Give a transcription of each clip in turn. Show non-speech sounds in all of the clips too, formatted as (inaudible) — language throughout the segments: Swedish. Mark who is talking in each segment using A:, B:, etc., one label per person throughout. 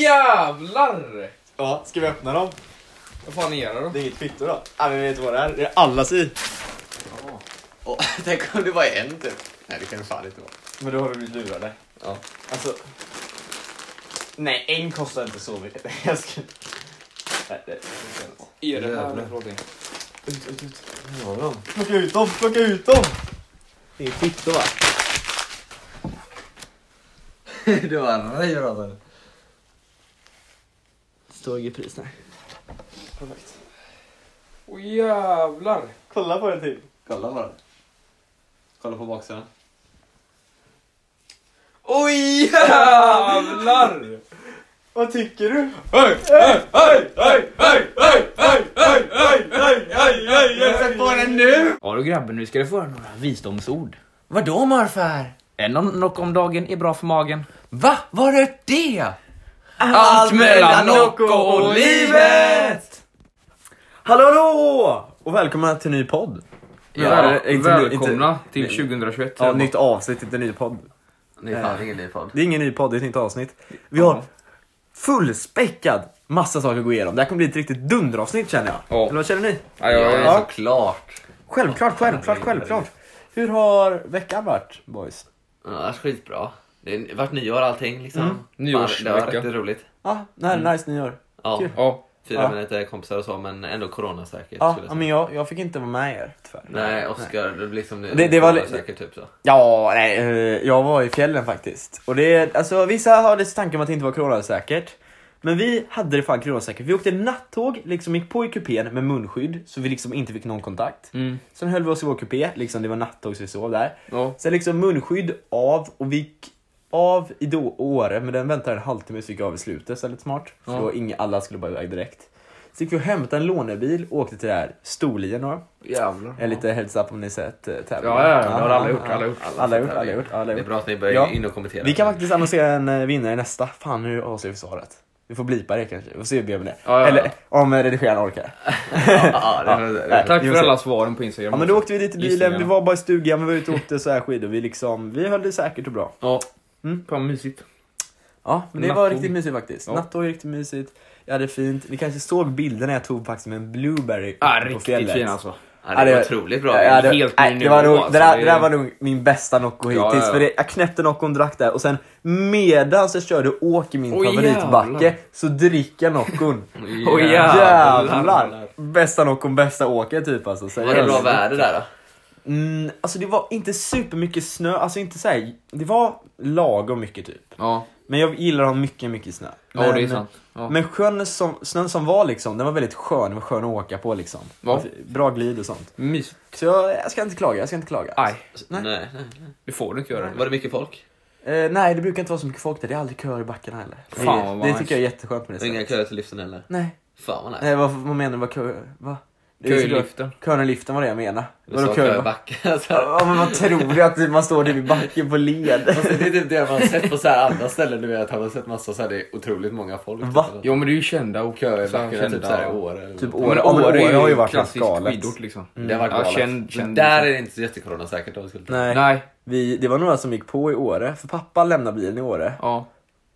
A: jävlar!
B: Ja, ska vi öppna dem?
A: Vad fan är det då?
B: Det är inget kvitto då? Ja, men vet du vad det är? Det är allas i.
C: Och, tänk om det var en typ. Nej det kan det fan inte vara.
B: Men då har vi blivit lurade.
C: Ja.
B: Alltså... Nej, en kostar inte så mycket. (laughs) Nej, Jag ska... Nej, det...
A: Är det här
C: Jävlar.
A: för någonting?
B: Ut, ut, ut. Var har vi dem? Plocka ut dem, plocka ut dem! Det är kvitto va?
C: det var rej Robert.
B: Står inget pris, nej.
C: Perfekt.
A: Åh jävlar!
B: Kolla på den till.
C: Kolla bara. Kolla på baksidan.
A: Oj jävlar!
B: Vad tycker du?
A: Hej, hej, hej, hej, hej, hej, hej, hej, hej, hej, hej, hej, hej!
C: Sätt på den nu!
D: Ja du grabben, nu ska du få höra några visdomsord. Vadå morfar? En om- knock om dagen är bra för magen. Va? Var är det? Allt mellan Nocco och livet!
B: Hallå hallå! Och välkomna till en ny podd.
D: Ja,
B: Eller, inte nu, inte-
D: välkomna till 2021.
B: Ja, nytt avsnitt, inte ny podd.
C: Det är fan ingen ny podd.
B: Det är ingen ny podd, det är ett nytt avsnitt. Vi har fullspäckad massa saker att gå igenom. Det här kommer bli ett riktigt dunderavsnitt känner jag.
D: Ja.
B: Eller vad känner ni?
D: Ja, jag är
B: Ja.
C: Såklart.
B: Självklart, självklart, självklart. Hur har veckan varit boys?
C: Ja, det är skitbra. Det har varit nyår allting liksom.
B: Mm.
C: Fan,
D: Nyårsvecka.
C: Det var riktigt roligt.
B: Ja, nej, nice nyår.
C: Ja,
B: Kul.
D: Ja,
C: fyra
B: Ja.
C: med lite kompisar och så men ändå coronasäkert
B: Ja,
C: skulle jag
B: ja,
C: säga.
B: men jag, jag fick inte vara med er tyvärr.
C: Nej, Oscar, det blir liksom
B: Det- det var li-
C: säkert typ så.
B: Ja, nej, eh, jag var i fjällen faktiskt. Och det, alltså vissa hade tanken om att det inte var coronasäkert. Men vi hade det fan coronasäkert. Vi åkte nattåg, liksom gick på i kupén med munskydd så vi liksom inte fick någon kontakt.
D: Mm.
B: Sen höll vi oss i vår kupé, liksom det var nattåg så vi sov där.
D: ja.
B: Sen liksom munskydd av och vi gick av i då Åre, men den väntade en halvtimme så gick jag av i slutet, så lite smart. För
D: Ja.
B: då inga, alla skulle bara iväg direkt. Så gick vi och hämtade en lånebil och åkte till det här Storlien då.
D: Jävlar.
B: En lite heads up om ni sett eh, tävlingen.
D: Ja, ja, ja, det har alla gjort, alla gjort.
B: Alla gjort, alla gjort, alla
C: Det är
B: gjort.
C: bra att ni börjar
B: Ja.
C: in och kommentera.
B: Vi kan faktiskt annonsera en eh, vinnare nästa. Fan nu avslöjar vi svaret. Vi får blipa det kanske, vi får se hur vi gör med det.
D: Ja, ja, ja.
B: Eller om eh, redigeraren orkar.
C: (laughs) ja, ja, det, det,
D: Tack för
B: Josef.
D: alla svaren på Instagram.
B: Ja men då åkte vi dit i bilen,
D: Gissningarna.
B: vi var bara i stugan, vi var ute och åkte så här skidor. Vi liksom, vi höll det säkert och bra.
D: Ja.
B: Mm.
D: Fan mysigt.
B: Ja, men det var
D: Nattåg.
B: riktigt mysigt faktiskt.
D: Ja.
B: Nattåg är riktigt mysigt. Jag hade fint. Ni kanske såg bilderna jag tog faktiskt med en blueberry
D: Ja,
B: uppe
D: riktigt fin alltså.
C: ja, det var otroligt bra.
B: Ja, det,
D: Helt
B: nej,
D: ny
B: det, var
D: nivå,
B: nog,
D: alltså.
B: det, där,
D: Det
B: det
D: är-
B: där var nog min bästa Nocco hittills.
D: Ja, ja, ja.
B: För det, jag knäppte Noccon, drack där och sen medan jag körde och åker min
D: Oj,
B: favoritbacke
D: jävlar.
B: så dricker jag
D: (laughs)
B: Noccon.
D: Oj, jävlar.
B: Jävlar! Bästa Noccon, bästa åker typ alltså.
C: Var det
B: seriöst.
C: bra väder där då?
B: Mm, alltså det var inte supermycket snö, alltså inte så här, det var lagom mycket typ.
D: Ja,
B: Men jag gillar att ha mycket, mycket snö.
D: ja
B: Men-
D: det är sant. Ja.
B: men sjön som, snön som var liksom, den var väldigt skön, den var skön att åka på liksom.
D: Ja.
B: Bra glid och sånt.
D: Mysigt.
B: Så jag, jag ska inte klaga, jag ska inte klaga.
D: Aj,
C: Nej.
B: Nej.
C: Nej,
D: det får du inte göra.
C: Var det mycket folk?
B: Eh, nej, det brukar inte vara så mycket folk där, det är aldrig köer i backarna heller.
D: Fan,
B: det,
D: vad
B: det
D: nice.
B: tycker jag är jätteskönt med det
C: Och inga
B: stället.
C: köer till lyften heller?
B: Nej,
C: Fan vad nice.
B: nej vad, vad menar du? Vad köer? Va? Det är
D: Kö i
B: såklart-
D: liften.
B: Köerna i liften var det jag menade.
C: Du sa
B: Vadå
C: köer i
B: köer? va?
C: (laughs) backen. Alltså.
B: Ja men vad tror du? Att man står där vid backen på
C: (laughs)
B: led?
C: Alltså, det är typ det man har sett på så här andra ställen. Du vet, man har sett massa så här, det är otroligt många folk.
B: Va?
D: Ja men det är ju kända och
C: Köer i
D: så här
C: backen, typ
D: kända-
C: så här år. eller-
B: Typ
D: Ja,
B: Åre,
D: men
B: ja, men
D: Åre
B: Åre har ju
D: är ju
B: varit
D: klassiskt
B: galet.
D: skidort liksom.
E: Mm.
C: Det har varit
D: Ja,
C: galet.
D: känd,
C: Men
D: känd.
C: Där är det inte så jättekoronasäkert säkert om vi skulle ta.
B: Nej,
D: Nej,
B: Vi, det var några som gick på i Åre, för pappa lämnade bilen i Åre.
D: ja.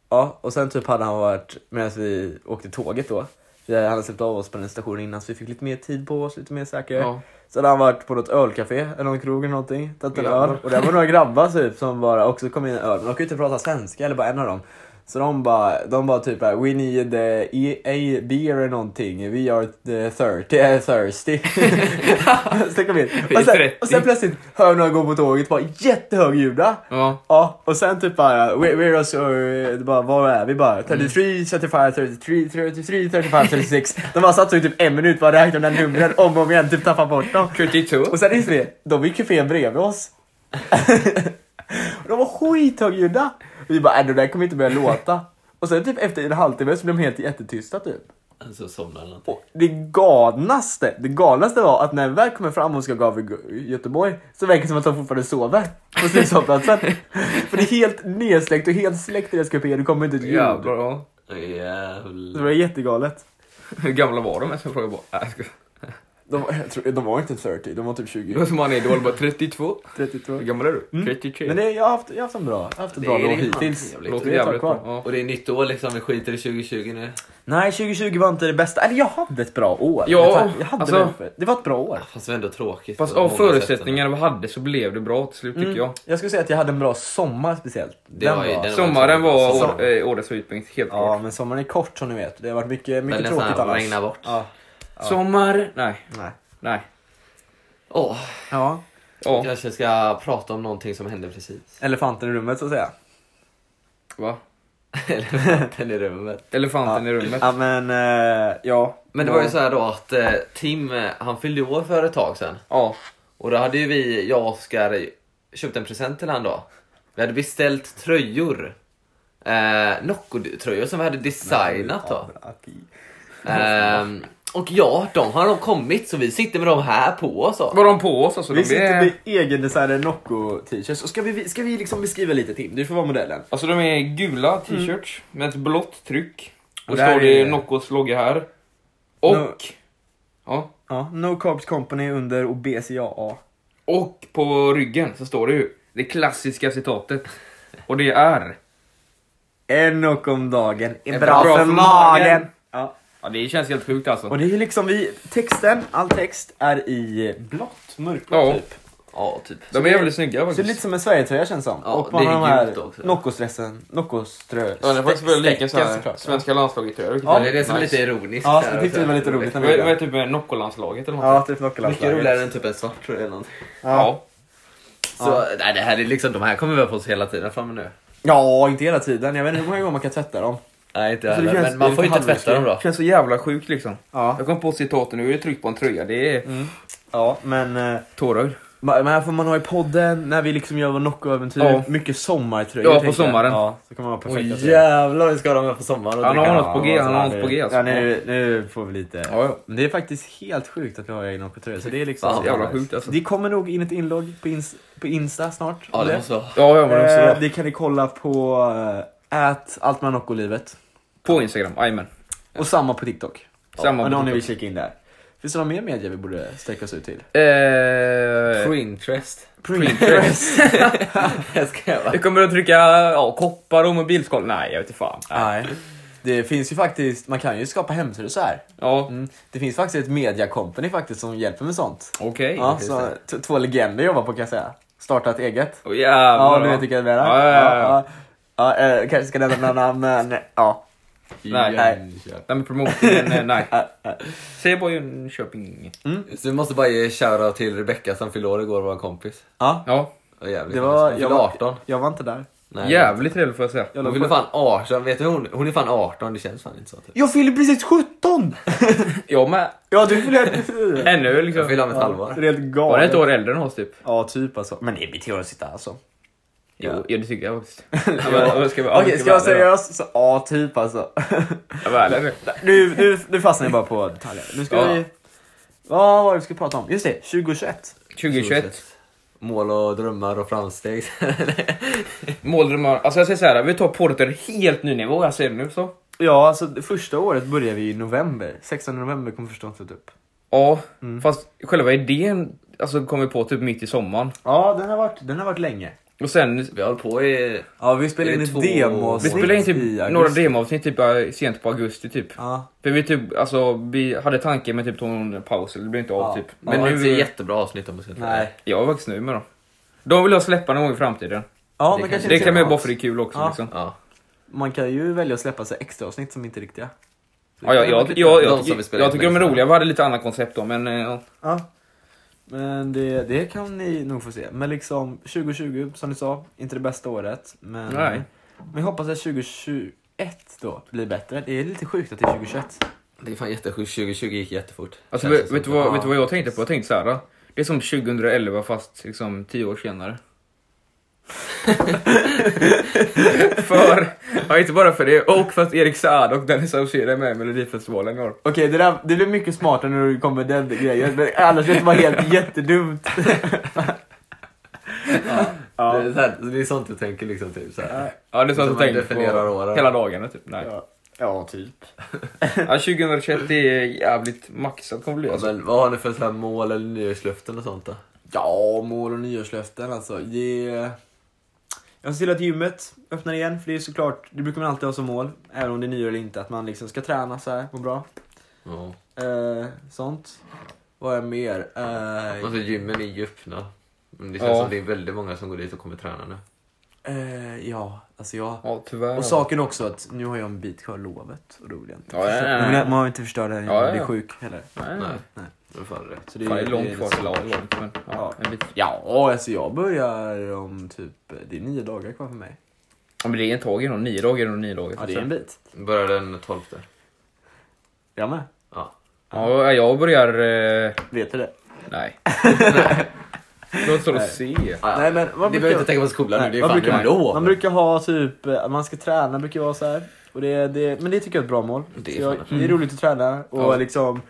B: Ja, och sen typ hade han varit, medan vi åkte tåget då, vi hade- han hade släppt av oss på den stationen innan så vi fick lite mer tid på oss, lite mer säkra.
D: Ja.
B: Så hade han varit på något ölcafé eller någon krog eller någonting, tagit en
D: Jävlar.
B: öl. Och det var några grabbar typ som bara också kom in i en öl, men de kunde inte prata svenska, eller bara en av dem. Så de bara, de bara typ här, we need eh, e- a beer eller någonting, we are the thirsty.
D: (laughs)
B: eh, thirsty. så de kom in.
D: Vi är
B: Och sen,
D: 30.
B: och sen plötsligt hör några gå på tåget, bara jättehögljudda.
D: Ja.
B: Ja, och sen typ bara, we- we're also, eh, bara, var är vi bara? 33, 35, 33, 33, 35, 36. De bara satt så i typ en minut bara räknade de där numren om och om igen, typ tappade bort dem.
D: 32.
B: Och sen är det, de var i kufén bredvid oss. (laughs) Och de var skithögljudda. Vi bara, äh, de där kommer inte börja låta. Och sen typ efter en halvtimme så blev de helt jättetysta typ.
C: Alltså somna eller någonting.
B: Och det galnaste, det galnaste var att när vi väl kommer fram och ska gå över i Göteborg så verkar det som att de fortfarande sover på slutsovplatsen. För det är helt nedsläckt och helt släckt i deras kupé, det kommer inte ett ljud.
D: Jävlar ja.
C: Jävlar.
B: Så det var jättegalet.
D: Hur gamla var de? Jag ska fråga bara. Nej, jag ska-
B: De, var- jag tror, de var inte 30, de var typ 20.
E: Det (laughs) var som han är idol, bara 32.
B: 32.
E: Hur gammal är du?
B: Mm.
E: 33.
B: Men det, jag, har haft, jag har haft en bra, jag har haft en bra
C: Det är
B: låt
C: riktigt
B: hittills.
C: trevligt.
E: låter
B: Det är ett tag
E: jävligt
B: kvar.
E: bra. Ja.
C: Och det är nytt år liksom, vi skiter i 2020 nu.
B: Nej, 2020 var inte det bästa. Eller jag hade ett bra år.
E: Ja,
B: jag, jag hade
E: alltså-
B: det. det var ett bra år.
C: Fast det var ändå tråkigt.
E: Fast
C: på
E: av
C: många
E: förutsättningar vi hade så blev det bra till slut tycker
B: Mm.
E: jag.
B: Jag skulle säga att jag hade en bra sommar speciellt.
C: Det
B: den
C: var
B: var,
C: ju- den-
E: Sommaren var
C: Säsong.
E: år, eh, årets höjdpunkt, helt
B: Ja,
E: klart.
B: men sommaren är kort som ni vet. Det har varit mycket,
C: sätt.
B: mycket
C: Den
B: tråkigt
C: nästan
B: annars.
C: regnar bort. Åh,
B: Ja,
E: Sommar? Nej,
B: nej.
E: nej.
B: Ja,
E: Ja,
C: kanske ska prata om någonting som hände
B: (laughs)
C: precis.
B: elefanten i rummet så att säga.
E: va?
C: Elefanten i rummet.
E: Elefanten
B: Ja.
E: i rummet.
B: Ja, men eh, ja.
C: Men det var ju så här då att eh, Tim, eh, han fyllde ju år för ett tag sedan.
E: Ja.
C: Och då hade ju vi, jag och Oskar, köpt en present till han då. Vi hade beställt tröjor. Eh, Nocco-tröjor som vi hade designat då. Ehm, och ja, de har nog kommit så vi sitter med dem här på oss. då.
E: Var de på oss alltså?
B: Vi
E: De
B: sitter
E: är,
B: med egendesignade Nocco-t-shirts. Och Ska vi, ska vi liksom beskriva lite Tim? Du får vara modellen.
E: alltså de är gula t-shirts med ett blått tryck. Och
B: Mm. Och där
E: står det
B: är-
E: Noccos logga här. Och...
B: No-
E: Ja.
B: Ja, No Carbs Company under och BCAA.
E: Och på ryggen så står det ju det klassiska citatet. Och det är...
B: En Nocco om dagen är
E: Är
B: bra,
E: bra för
B: för magen.
E: magen.
B: Ja.
E: Ja det känns helt sjukt alltså.
B: Och det är liksom vi, texten, all text är i blått, mörkblått
E: Ja.
B: typ.
C: Ja, typ.
E: De är jävligt snygga
B: Så det är lite
E: faktiskt.
B: som en Sverigetröja känns som.
C: Ja,
B: och man
C: det är
B: har de
C: gult
B: här
C: också.
B: Noccos-dressen, Noccos-trö...
E: Ja, den är faktiskt väldigt lik en sån
B: stäcken
E: här
B: såklart.
E: svenska landslaget tror jag. vilket
B: alltså. Ja,
C: det är det som
E: nice.
C: är lite ironiskt.
B: Ja,
C: här
B: jag tyckte det
C: också.
B: var lite roligt när
E: Vad är-
B: vi
E: vad
B: gjorde
E: är typ eh, Noccolandslaget eller något?
B: Ja, typ Noccolandslaget.
C: Mycket roligare än typ en svart tröja eller någonting.
B: Ja.
C: Så nej, det här är liksom, de här kommer vi ha på oss hela tiden framöver nu.
B: ja, inte hela tiden. Jag vet inte hur många gånger man kan tvätta dem.
C: Nej inte
B: Alltså, det
C: heller,
B: känns-
C: men man
B: det
C: får ju inte
B: halvriskigt.
C: tvätta dem då.
E: Känns så jävla sjukt liksom.
B: Ja,
E: Jag kom på citaten nu, är det tryck på en tröja, det
B: Mm.
E: är
B: ja men... eh,
E: tårögd.
B: ma- Men här får man ha i podden, när vi liksom gör vår Nocco-äventyr.
E: Ja.
B: Mycket sommartröjor.
E: Ja, på
B: tänker jag.
E: sommaren.
B: Ja, så kan man ha perfekta tröjor.
C: jävlar vi ska ha dem här på sommaren.
E: Han
C: och
E: har
C: dricka.
E: något på G, han har något på G alltså.
B: Ja, nu, nu får vi lite...
E: Ja, ja.
B: Men det är faktiskt helt sjukt att vi har egna tröjor. Så det är liksom...
C: Fan,
B: så
E: jävla
B: nice.
E: sjukt, alltså.
B: Det kommer nog in ett inlogg på, ins- på Insta snart.
C: Ja
B: om
C: det måste vara.
E: Ja, ja men också
B: Eh,
E: bra.
B: det kan ni kolla på eh, ät allt med Nocco-livet.
E: På Instagram, jajamän.
B: Och samma på TikTok.
E: Samma
B: Om någon
E: på
B: vill kika in där. Finns det några mer medier vi borde sträcka oss ut till?
E: Eh,
C: Printrest.
B: (laughs) Pinterest.
C: Jag ska
E: jag kommer att trycka ja, koppar och mobilskal. Nej, jag vet inte fan.
B: Nej. Det finns ju faktiskt, man kan ju skapa hemsidor så här.
E: Ja,
B: Mm. Det finns faktiskt ett media company faktiskt som hjälper med sånt.
E: okej.
B: Ja, så t- två legender jobbar på kan jag säga. Starta ett eget.
E: Åh, jävlar,
B: Ja, du
E: va?
B: vet vilka jag menar.
E: Ja, ja, ja.
B: ja. ja eh, kanske ska nämna några namn, men ja.
E: Nej. Nej men promotingen, eh, nej. (laughs) Säg bara Jönköping.
C: Så vi måste bara ge shoutout till Rebecka som fyllde år igår, vår kompis.
B: ja.
E: Ja,
C: Och jävligt
B: Det var,
C: Hon
B: jag,
C: fyllde
B: var,
C: 18.
B: jag var inte där.
C: Nej.
E: jävligt trevligt får jag säga.
B: Jag
C: Hon fyllde fan 18, vet du hon? Hon är fan 18, det känns fan inte så. Typ.
B: Jag fyller precis 17!
E: Jag med.
B: (laughs) Ja, du fyller
E: Ännu
C: Jag
E: liksom.
C: fyllde om ett halvår.
B: Helt galet.
E: Var det ett år äldre än oss typ?
B: Ja, typ alltså. Men det är mitt att sitta alltså.
E: Jo, ja, det tycker jag (laughs) faktiskt.
B: Okej, ska jag säga seriöst? Så, ja, typ alltså.
E: seriöst?
B: Nu, nu, nu fastnar jag bara på detaljer. Nu ska
E: Ja.
B: vi... Vad var det vi skulle prata om? Just det, 2021.
E: 2021.
C: Mål och drömmar och framsteg. (laughs)
E: Måldrömmar. Alltså jag säger så här, vi tar på det till en helt ny nivå. Jag säger det nu så.
B: Ja, alltså det första året började vi i november. 16 november kom första avsnittet upp.
E: Ja, fast själva idén alltså, kom vi på typ mitt i sommaren.
B: Ja, den har varit, den har varit länge.
E: Och sen,
C: Vi har hållit på i...
B: Ja, vi spelade
C: Det är
B: in ett
C: två-
B: demo
E: vi
C: Avsnitt
E: spelade in
B: i
E: typ
B: augusti.
E: några demoavsnitt typ äh, sent på augusti typ.
B: Ja.
E: För vi typ, alltså vi hade tanken men typ tog en paus, eller det blev inte av
B: Ja.
E: typ.
C: Men
E: Men
C: det var inte
E: nu,
C: jättebra avsnitt om man ska säga.
B: Nej.
E: jag är faktiskt nöjd med dem. De vill jag släppa någon gång i framtiden.
B: Ja,
C: Det
B: men
C: kan-
B: kanske
E: Det
B: inte
E: kan man
B: göra
E: göra bara
B: alls.
E: för det är kul också
B: Ja.
E: liksom.
C: Ja.
B: Man kan ju välja att släppa sig extra avsnitt som inte är riktiga. Så
E: Ja,
B: det
E: jag,
B: kan
E: jag,
B: vara
E: jag,
B: lite-
E: jag,
C: De som
E: tycker-
C: vi spelar
E: jag
C: in
E: tycker de är
C: med.
E: roliga, vi hade lite annat koncept då men eh, ja.
B: Ja. Men det, det kan ni nog få se. Men liksom 2020, som ni sa, inte det bästa året. Men
E: Nej.
B: men jag hoppas att 2021 då blir bättre. Det är lite sjukt att det är 2021.
C: Det är fan jättesjukt, 2020 gick jättefort.
E: Alltså,
C: Känns
E: vet,
C: det
E: vet, du
C: som. typ.
E: vad,
B: Ja.
E: vet du vad jag tänkte på? Jag tänkte så här. då. Det är som 2011 fast liksom 10 år senare. för, ja inte bara för det, och för att Erik Saad och Dennis Saucedo är med i Melodifestivalen i år.
B: Okej, det, där- det blir mycket smartare när du kommer med den grejen. Men annars vet det vara (laughs) helt jättedumt.
C: Det, är så här, det är sånt du tänker liksom typ såhär.
E: Ja det är
C: Som
E: sånt
C: man
E: jag tänkte
C: definierar
E: på
C: åren.
E: hela dagarna typ. Nej.
B: Ja. Ja, typ.
E: Ja, 2021 är jävligt maxat kommer bli alltså.
C: Men vad har ni för så här mål eller nyårslöften och sånt då?
B: Ja, mål och nyårslöften alltså. Ge... Jag ser till att gymmet öppnar igen, för det är såklart, det brukar man alltid ha som mål, även om det är nyår eller inte, att man liksom ska träna så här, må bra.
C: Ja.
B: Eh, sånt. Vad är mer? Eh,
C: Alltså gymmen är ju öppna. Men det känns
E: Ja.
C: som det är väldigt många som går dit och kommer träna nu.
B: eh, ja, alltså jag...
E: Ja, tyvärr.
B: Och saken också att nu har jag en bit kvar lovet och då vill jag inte
E: Ja, ja,
B: förstö-
E: ja, ja.
B: Men Man vill inte förstöra det
E: Ja,
B: genom
E: ja,
B: att bli
E: ja.
B: sjuk heller.
E: Nej,
C: Nej.
E: nej.
B: Nej.
C: Det är fan rätt.
B: Så det
E: Fan, det är
B: det
E: långt
B: är
E: kvar
B: lite-
E: till lag- långt, men ja, en bit.
B: Ja, alltså jag börjar om typ, det är nio dagar kvar för mig. Alltså,
E: Ja, men det är en tåg inom nio dagar inom nio dagar.
B: Ja, det är en bit.
C: Börjar den 12.
B: Jag med.
C: Ja.
E: Ja, jag börjar... Eh,
B: Vet du det? (laughs)
E: nej. Låt oss se.
C: Ah, ja.
B: Nej, men vad
C: Ni
B: brukar-
C: behöver inte tänka på skolan nu, det är
B: man,
C: fan
B: brukar,
C: brukar... lov.
B: man brukar ha typ, eh, att man ska träna brukar vara så här. Och det, det, men det tycker jag är ett bra mål.
C: Det är
B: Så jag,
C: fan- Mm.
B: det är roligt att träna och
C: Ja.
B: liksom,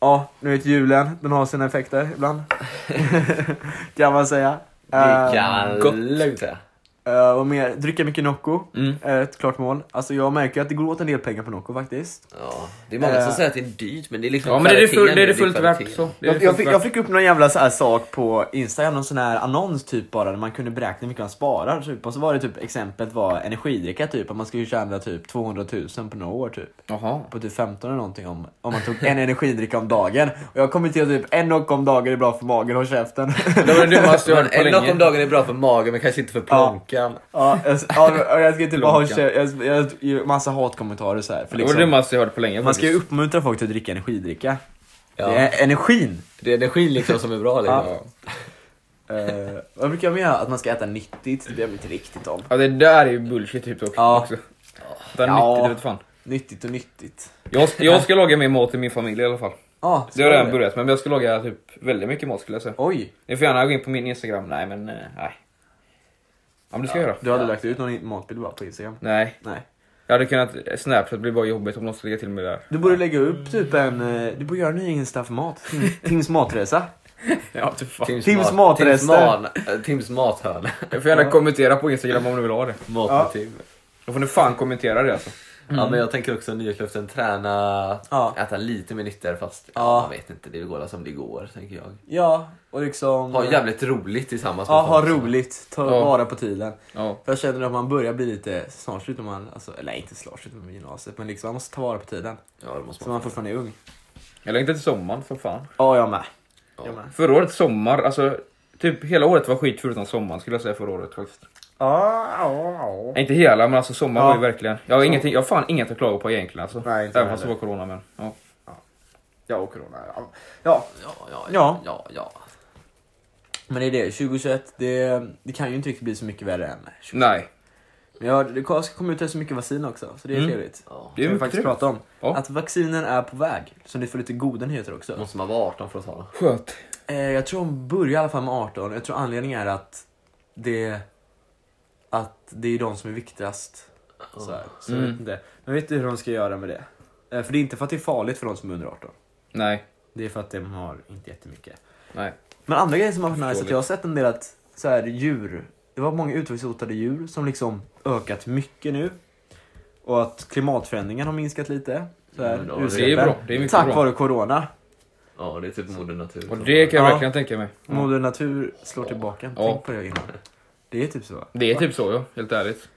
B: ja, nu vet julen, den har sina effekter
C: (laughs)
B: ibland. kan man säga.
C: Det
B: Eh,
C: kan
B: gott.
C: lugnt säga.
B: Eh, och mer, dricka mycket Nocco.
E: Mm.
B: är Ett klart mål. Alltså jag märker att det går åt en del pengar på Nocco faktiskt.
C: Ja, det är många som
B: Eh.
C: säger att det är dyrt men det är liksom
E: Ja, men det är det,
C: kvaliteten,
E: full, det, är det fullt värt.
C: kvaliteten.
E: Så. Det är
B: Jag,
E: det
B: jag,
E: fullt
B: fick,
E: värt.
B: jag fick upp någon jävla så här sak på Instagram, någon sån här annons typ bara där man kunde beräkna hur mycket man sparar typ. Och så var det typ exemplet var energidricka typ, att man skulle tjäna typ 200 000 på några år typ.
E: Jaha.
B: På typ 15 eller någonting om, om man tog
E: (laughs)
B: en energidricka om dagen. Och jag kom till typ en Nocco om dagen är bra för magen och käften.
E: Det var det dummaste jag
C: Men
E: hört på
C: en knock om
E: länge.
C: dagen är bra för magen men kanske inte för plånkan.
B: (laughs) ja, jag, ja, jag ska typ bara ha
E: Lunka.
B: kä- jag, jag, massa hatkommentarer så här. För
E: Det var det
B: liksom,
E: dummaste jag hört på länge.
B: man ska ju
E: faktiskt.
B: uppmuntra folk till att dricka energidricka.
C: Ja.
B: Det är energin!
C: Det är energin liksom som är bra liksom.
B: Ja. Uh, vad brukar jag göra? Att man ska äta nyttigt, det bryr jag mig inte riktigt om.
E: Ja, det där är ju bullshit typ också.
B: Ja.
E: också. Den
B: Ja.
E: nyttigt, det vet fan.
B: Nyttigt och nyttigt. Ah,
E: Jag, jag ska laga mer mat till min familj i alla fall.
B: Ja,
E: Det har jag redan börjat med, men jag ska laga typ väldigt mycket mat skulle jag säga.
B: Oj,
E: Ni får gärna gå in på min Instagram. Nej, men eh, nej. Ja, men det ska jag göra.
B: du hade lagt ut någon matbild bara på Instagram.
E: Nej,
B: Nej.
E: jag hade kunnat... eh, Snapchat blir bara jobbigt om någon ska lägga till mig där.
B: Du borde lägga upp typ en, eh, du borde göra en ny Insta för mat. Tim, (laughs) Tims matresa.
E: Ja, typ fan.
B: Tims
C: mat-
B: matrester.
C: Tims, man, Tims mathörn.
E: Du får gärna kommentera på Instagram om du vill ha det.
C: Mat
B: Ja.
C: med Tim.
E: Då får ni fan kommentera det alltså.
C: Ja men jag tänker också nyårslöften, träna,
B: Mm. Ja.
C: äta lite mer nyttigare fast
B: Ja.
C: man vet inte, det går väl som det går tänker jag.
B: Ja, och liksom...
C: Ha jävligt alltså. roligt tillsammans
B: Ja,
C: med
B: ha
C: folk som-
B: roligt. Ta
E: Ja.
B: vara på tiden.
E: Ja.
B: För jag känner att man börjar bli lite snart slutar man, alltså, eller nej, inte snart slutar man med gymnasiet, men liksom man måste ta vara på tiden.
C: Ja det måste
B: Så
C: man.
B: man fortfarande är ung.
E: Jag längtar till sommaren som fan.
B: Ja, jag med.
C: Ja.
E: Förra året sommar, alltså typ hela året var skit förutom sommaren skulle jag säga förra året faktiskt.
B: Ja, ja, ja.
E: Nej, Inte hela men alltså sommaren
B: Ja.
E: var ju verkligen. Jag har, ingenting, jag har fan inget att klaga på egentligen alltså.
B: Nej, inte
E: Även
B: jag
E: fast det var corona men. Ja.
B: Ja, och corona. Ja. ja.
C: Ja, ja,
B: Ja.
C: ja, ja, ja.
B: Men det är det. 2021, det, det kan ju inte riktigt bli så mycket värre än 2021.
E: Nej.
B: Men jag, det ska komma ut så mycket vaccin också, så det är
E: Mm.
B: trevligt.
C: ja.
E: Det är
B: Som vi
E: mycket
B: faktiskt
E: trevligt.
B: prata om.
E: Ja. Mm.
B: Att vaccinen är på väg, så ni får lite goda nyheter också.
C: Måste man vara 18 för att ha
E: Skönt.
B: Eh, jag tror de börjar i alla fall med 18. Jag tror anledningen är att det, att det är de som är viktigast. Så, här. så jag
E: Mm.
B: vet inte. Men jag vet inte hur de ska göra med det. Eh, för det är inte för att det är farligt för de som är under 18.
E: Nej.
B: Det är för att de har inte jättemycket.
E: Nej.
B: Men andra grejer som har varit nice, att
E: Förståeligt.
B: jag har sett en del att så här, djur, det var många utrotningshotade djur som liksom ökat mycket nu. Och att klimatförändringen har minskat lite. Så här,
C: Mm, ja, det är
B: utsläppen.
E: bra. Det är mycket
B: Tack
E: bra.
B: vare corona.
C: Ja det är typ moder natur.
E: Och
C: som-
E: det kan jag
B: Ja.
E: verkligen tänka mig.
B: Moder natur slår tillbaka.
E: Ja.
B: Tänk på det innan. Det är typ så.
E: Det är typ så ja, helt ärligt.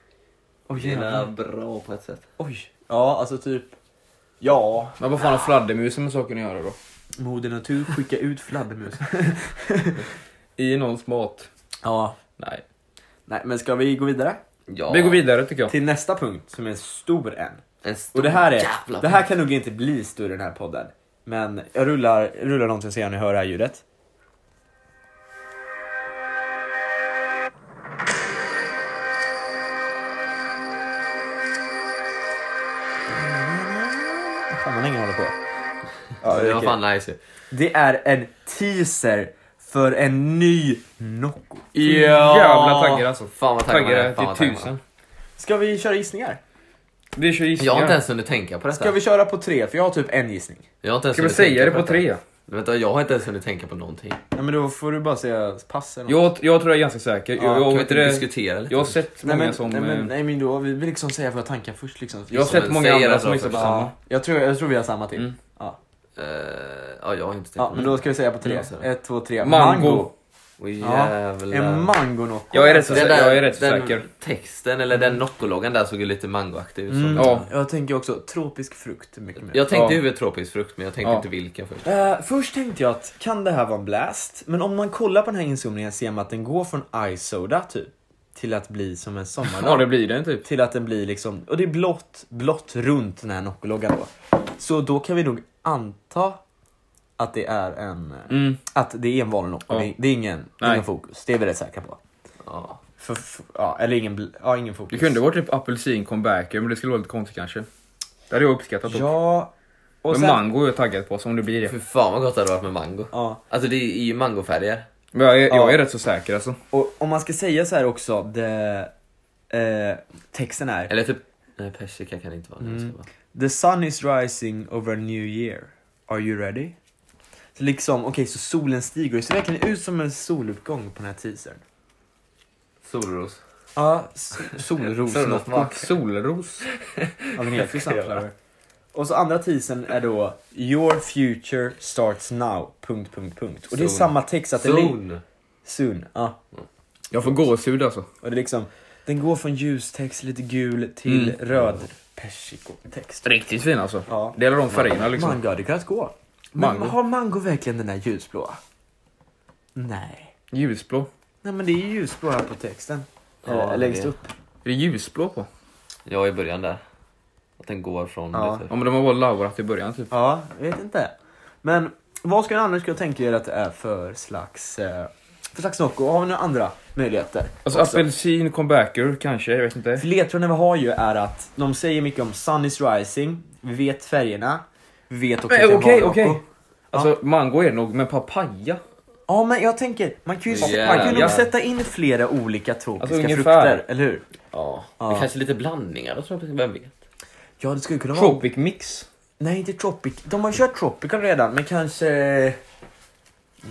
B: Oj,
C: Det är
B: jävlar.
C: bra på ett sätt.
B: Oj. Ja, alltså typ. Ja.
E: Men vad fan har fladdermusen med saken att göra då?
B: Moder natur skickar
E: (laughs)
B: ut fladdermus.
E: I någons mat?
B: ja.
E: Nej.
B: Nej, men ska vi gå vidare?
C: Ja.
E: Vi går vidare tycker jag.
B: Till nästa punkt som är en stor en.
C: En stor
B: Och det här, är,
C: jävla
B: det här kan nog inte bli större i den här podden. Men jag rullar, jag rullar någonting så jag ni hör det här ljudet. Fan vad länge jag håller på. Ja,
C: Ja, det var
B: okej.
C: fan nice ju.
B: Det är en teaser för en ny Nocco.
E: Ja. Jävla taggad alltså.
C: Fan vad taggad man är,
E: Taggade
C: fan vad
E: till
C: taggad man är.
E: tusen.
B: Ska vi köra gissningar?
E: Vi kör
C: Jag har
E: gissningar.
C: inte ens hunnit tänka på detta.
B: Ska vi köra på tre? För jag har typ en gissning.
C: Jag har inte ens
E: Ska vi
C: hunnit
E: säga det
C: tänka
E: på tre?
C: Vänta, jag har inte ens hunnit tänka på någonting.
B: Nej men då får du bara säga pass eller något.
E: Jag, jag tror jag är ganska säker.
B: Ja,
E: jag,
C: Kan
E: jag,
C: vi
E: vet
C: inte
E: det,
C: diskutera lite?
E: jag har sett
B: Nej
E: många
B: men,
E: som...
B: nej, men,
E: eh,
B: nej, men då, vi vill liksom säga våra tankar först liksom.
E: jag har
C: Som
E: sett
C: en
E: många andra
C: sägare
E: som har gissat på
C: först.
E: samma.
B: ja, jag, tror, jag tror vi har samma till.
E: Mm.
B: Ja.
C: Eh, ja, jag har inte tänkt
B: ja, men då ska vi säga på tre.
C: Mm, så.
B: Ett, två, tre.
E: Mango.
C: Åh,
B: Ja.
C: jävlar.
B: En mango något.
E: Jag är rätt så
C: Den
E: säker.
C: där-
E: Jag är rätt så
C: den
E: säker.
C: texten, eller
B: Mm.
C: den Nocco-loggan där såg ju lite mangoaktig ut. som-
E: Ja.
B: Jag tänker också tropisk frukt. Mycket mer.
C: Jag tänkte
E: Ja.
C: ju tropisk frukt, men jag tänkte
E: Ja.
C: inte vilken först.
B: Eh, först tänkte jag att kan det här vara en blast? Men om man kollar på den här inzoomningen ser man att den går från isoda typ till att bli som en
E: Ja,
B: sommardag.
E: det blir den typ.
B: Till att den blir liksom, och det är blått, blått runt den här Noccologgan då. Så då kan vi nog anta att det är en, eh,
E: Mm.
B: att det är en vanlig Nocco.
E: Ja.
B: Det, det är ingen,
E: Nej.
B: ingen fokus, det är vi rätt säkra på.
C: Ja.
B: För, för, ja, eller ingen, bl- ja, ingen fokus.
E: Det kunde varit typ apelsin comebacker, men det skulle vara lite konstigt kanske. Det hade jag uppskattat också.
B: Ja, och
E: men
B: sen,
E: mango är jag taggad på, så om det blir det.
C: Fy fan vad gott det hade varit med mango.
B: Ja,
C: Alltså det är ju mangofärger.
E: Men jag är, jag
B: Ja.
E: är rätt så säker alltså.
B: och om man ska säga så här också, det, eh, texten är
C: Eller typ, nej persika kan det inte vara. det
E: Mm.
C: ska vara.
B: The sun is rising over a new year. Are you ready? Så liksom, okej, så solen stiger. Det ser verkligen ut som en soluppgång på den här teasern.
C: Solros.
B: Ja, s- (laughs) solros.
C: Solrosmak.
E: Solros.
B: Ja, den heter ju Sunflower. Och så andra teasern är då Your future starts now. Punkt, punkt, punkt. Och det är
C: Soon.
B: samma text att det ligger...
C: Zon.
B: Soon. Ja.
E: Jag får gåshud alltså.
B: Och det är liksom, den går från ljustext, lite gul, till röd persikotext.
E: Riktigt fin alltså.
B: Ja.
E: Det är alla de färgerna liksom.
B: Mango hade kunnat gå. Men
E: Mango.
B: har mango verkligen den där ljusblåa? Nej.
E: Ljusblå.
B: Nej men det är ju ljusblå här på texten.
C: Ja,
B: Eller,
C: det-
B: längst upp.
E: Är det ljusblå på?
C: Jag i början där. Att den går från
B: Ja.
C: det
E: Ja
C: typ.
E: men de har bara laurat i början typ.
B: Ja, jag vet inte. Men vad ska ni annars kunna tänka er att det är för slags, eh, för slags Nocco? Har vi några andra möjligheter?
E: Alltså
B: också?
E: apelsin comebacker kanske, jag vet inte.
B: För ledtrådarna vi har ju är att de säger mycket om sun is rising, vi vet färgerna, vi vet också
E: Nej,
B: att det är
E: Eh, Okej,
B: vanlig
E: okej.
B: Nocco.
E: Alltså mango är det nog, men papaya?
B: Ja men jag tänker, man kan ju, man kan ju
C: Jävlar.
B: nog sätta in flera olika tropiska
E: Alltså, ungefär.
B: frukter, eller hur?
C: Ja.
B: Ja.
C: Det kanske är lite blandningar då, tror jag. vem vet?
B: Ja det skulle kunna vara
E: Tropic mix.
B: Nej, inte Tropic. De har kört Tropical redan, men kanske...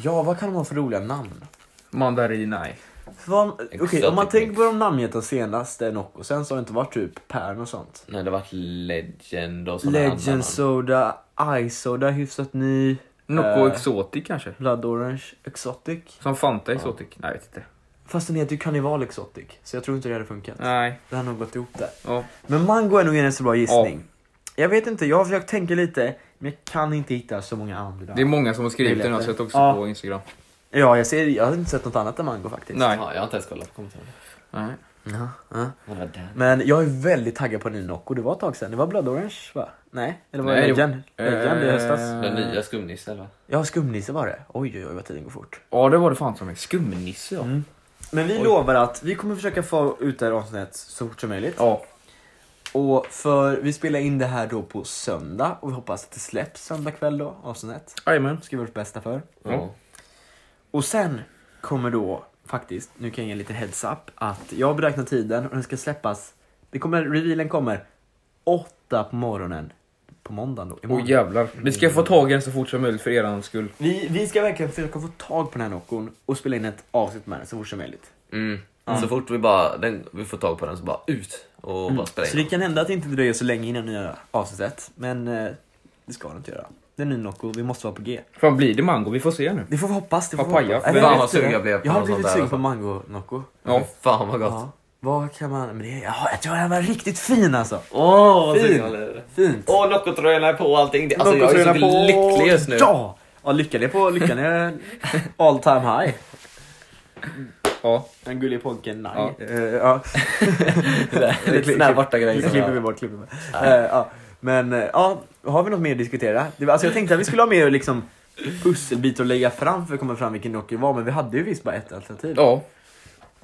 B: Ja, vad kan de ha för roliga namn?
E: Mandarin, nej.
B: Vad- Okej, om man
C: Exotic
B: tänker
C: mix.
B: på de namngivna senaste Nocco, sen så har det inte varit typ Pärn och sånt.
C: Nej det har varit Legend och sådana andra namn.
B: Legend Soda, Ice Soda, hyfsat ny.
E: Nocco
B: Eh,
E: exotic kanske?
B: Blood Orange Exotic.
E: Som Fanta exotic? Nej jag vet inte.
B: Fast den heter ju Carnival Exotic, så jag tror inte det hade funkat.
E: Nej.
B: Det har nog gått ihop där.
E: Ja.
B: Men Mango är nog en så bra gissning. Jag vet inte, jag har försökt tänka lite, men jag kan inte hitta så många andra.
E: Det är många som har skrivit den, har
B: Möjligheter.
E: sett också
B: Ja.
E: på instagram.
B: Ja, jag, ser, jag har inte sett något annat än Mango faktiskt.
E: Nej.
C: Ja, jag har inte ens kollat på kommentarerna.
E: Nej.
B: Ja, ja.
C: Vad var det?
B: Men jag är väldigt taggad på en ny Nocco. Det var ett tag sedan. Det var Blood Orange va? Nej? Eller var det
E: Nej, det-
B: Legend? Legend i
E: Eh,
B: höstas?
C: Den nya skumnissen eller?
B: Ja, skumnisse var det. Oj, oj, oj vad tiden går fort.
E: Ja det var det fan som en skumnisse ja.
B: Men vi lovar att vi kommer försöka få ut det här avsnittet så fort som möjligt.
E: Ja.
B: Och för vi spelar in det här då på söndag och vi hoppas att det släpps söndag kväll då, avsnittet.
E: Jajamän.
B: Ska vi göra vårt bästa för.
C: Ja.
B: Och sen kommer då faktiskt, nu kan jag ge lite heads up, att jag beräknar tiden och den ska släppas. Det kommer, revealen kommer åtta på morgonen på måndagen då.
E: Åh
B: imorgon.
E: jävlar. Vi ska få tag i den så fort som möjligt för er skull.
B: Vi, vi ska verkligen försöka få tag på den här Noccon och spela in ett avsnitt med den så fort som möjligt.
C: Mm. Så fort vi bara den, vi får tag på den så bara ut och bara spela
B: Så det
C: in.
B: kan hända att det inte dröjer så länge innan nya avsnittet, men eh, det ska det inte göra. Det är en ny Nocco, vi måste vara på G.
E: Fan blir det mango? Vi får se nu.
B: Det får vi hoppas. Det får vi
E: Papaya.
B: hoppas. Eller,
C: Fan,
B: vet
C: vad
B: du
C: sugen
B: det?
C: jag blev på
B: Jag har
C: något
B: blivit
C: sånt där,
B: sugen
C: alltså.
B: på mango Nocco.
E: Ja.
C: Fy Fan vad gott.
B: Ja. Vad kan man... Men det är, ja, jag tror den var riktigt fin alltså.
C: Åh, vad
B: Fin.
C: sugen jag blev.
B: Fint.
C: Åh, Noccotröjorna är på och allting. Det- Alltså, jag är så
B: Nocco-tröjorna på-
C: lycklig just nu.
B: Ja! ja lyckan är på...
C: (laughs)
B: Lyckan är all time high.
E: Ja.
B: Den gullige pojken Naj.
E: Eh, Ja.
B: Ja. (laughs) ja.
C: Lite sån här borta grej
B: Det
C: som
B: klipper vi
C: jag...
B: bort. Klipper vi. bort. Eh, ja. Men eh, ja, har vi något mer att diskutera? Det var, alltså, jag tänkte att vi skulle ha mer liksom, pusselbitar att lägga fram för att komma fram vilken Nokia var, men vi hade ju visst bara ett alternativ.
E: Ja.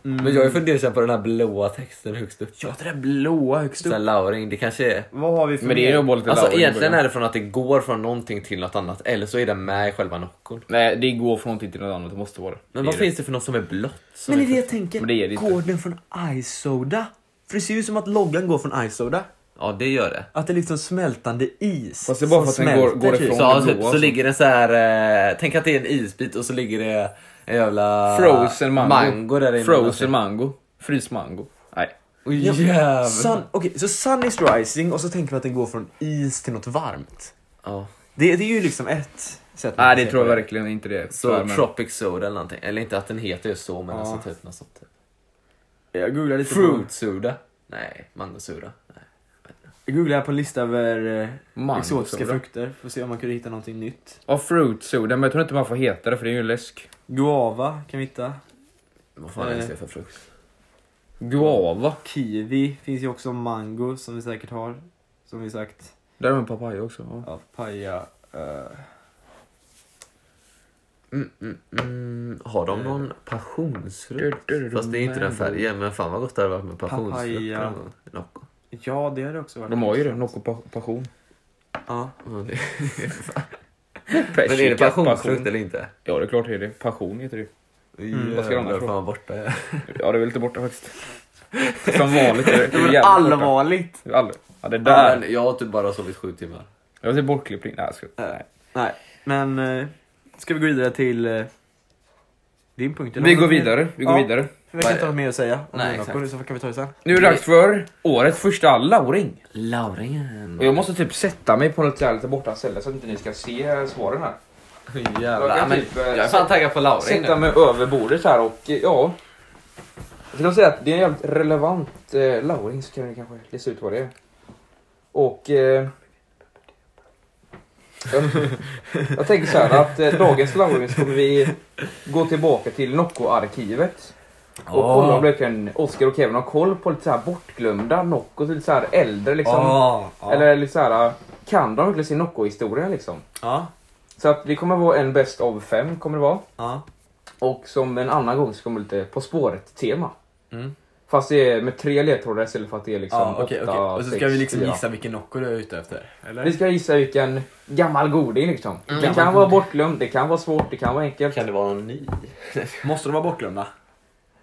B: Mm.
C: Men jag är fundersam på den här blåa texten högst upp.
B: Ja, det där blåa högst
C: Sån här
B: upp.
C: Lauring, det kanske är...
B: Vad har vi för
E: Men det är nog
B: mer?
E: bara lite
C: Alltså
E: lauring i
C: egentligen
E: början.
C: är det från att det går från någonting till något annat, eller så är det med i själva nockon.
E: Nej det går från någonting till något annat, det måste vara det.
C: Men
E: Det
C: vad
E: är
C: finns det för något som är blått? Som
B: Men det är
C: är
B: det jag tänker.
E: Men det är det inte.
B: går den från Isoda? För det ser ju ut som att loggan går från Isoda.
C: Ja, det gör det.
B: Att det är liksom smältande is.
E: Fast det är bara
B: som
E: för att den går-
B: smälter,
E: går
B: typ.
E: ifrån.
C: Så, ja,
E: blå,
C: typ, så
E: alltså.
C: ligger det så här. Eh, tänk att det är en isbit och så ligger det en jävla
E: Frozen mango.
C: mango där inne. alltså.
E: Frozen mango. Fryst mango. Nej.
C: Åh,
B: Ja,
C: jävlar.
B: Sun, okej, så sun is rising och så tänker vi att den går från is till något varmt.
C: Ja.
B: Det, det är ju liksom ett sätt.
E: Nej,
B: att
E: det
B: se
E: tror jag
B: på
E: verkligen inte det är.
C: Så
E: För, men-
C: Tropic Soda eller någonting. Eller inte att den heter just så, men
B: Ja.
C: alltså typ något sånt. Typ.
B: Jag googlar lite på,
C: Fruit Soda? Nej, Mango Soda. Nej.
B: jag googlar på en lista över eh,
E: Mango
B: exotiska
E: soda.
B: frukter för att se om man kunde hitta någonting nytt.
E: Ja, fruit soda, men jag tror inte man får heta det för det är ju en läsk.
B: Guava kan vi hitta.
C: Vad fan
B: Nej.
C: är det för frukt?
E: Guava.
B: Kiwi finns ju också. Mango som vi säkert har. Som vi sagt.
E: Där har vi papaya också. Ja.
B: Ja, paja. eh,
C: Mm, mm, mm. Har de någon passionsfrukt?
E: Eh. Du, du, du,
C: Fast det är inte den
E: mango.
C: färgen, men fan vad gott det hade varit med passionsfrukt.
B: Papaya.
C: någon gång. Nocco.
B: ja, det har det också varit.
E: De har ju det, Nocco pa- passion.
B: Ja.
C: Ja, det- Men är det passionsfrukt eller inte?
E: Ja, det är klart det är det. Passion heter det ju.
C: Mm,
E: vad ska de här från?
C: fan borta. ja.
E: Ja, det är väl lite borta faktiskt. Som vanligt är det,
C: (laughs)
E: det är jävligt borta.
B: Allvarligt!
E: Det är All... Ja, det
C: Ja,
E: där.
C: men Jag har typ bara sovit sju timmar.
E: Jag vill se bortklippning. Nej, jag ska... Nej.
B: Nej, men eh, ska vi gå vidare till eh, din punkt? eller
E: Vi
B: har
E: går
B: något mer?
E: vidare. Vi går
B: Ja.
E: vidare.
B: Vi verkar inte ha något mer att säga om
C: Nej,
B: Nej,
C: exakt.
B: så kan vi ta det sen.
E: Nu är det dags för årets första lauring.
C: Lauringen.
E: Och jag måste typ sätta mig på något så här lite borta ställe så att inte ni ska se svaren här. Jag
C: Jävlar.
E: kan
C: Men,
E: typ, eh,
C: jag är fan taggad på lauring
E: Sätta
C: nu.
E: mig över bordet här och eh, ja. Jag skulle säga att det är en jävligt relevant eh, lauring så kan ni kanske läsa ut vad det är. Och... Eh, jag, jag tänker så här att eh, dagens lauring så kommer vi gå tillbaka till Nocco-arkivet. Och
B: Åh.
E: kolla om verkligen Oscar och Kevin har koll på lite så här bortglömda Nocco, lite så här äldre liksom.
B: Ja, ja.
E: Eller lite så här, äh, kan de verkligen sin Nocco-historia liksom?
B: Ja,
E: Så att det kommer vara en bäst av fem kommer det vara.
B: ja.
E: Och som en annan gång så kommer lite På spåret-tema.
B: Mm.
E: Fast det är med tre ledtrådar istället för att det är liksom
B: ja okej,
E: åtta,
B: okej. Och så ska
E: sex,
B: vi liksom
E: fyra.
B: gissa vilken Nocco du är ute efter. Eller?
E: Vi ska gissa vilken gammal goding liksom.
B: Mm.
E: det kan vara bortglömd, det kan vara svårt, det kan vara enkelt.
C: Kan det vara någon ny?
B: Måste de vara bortglömda?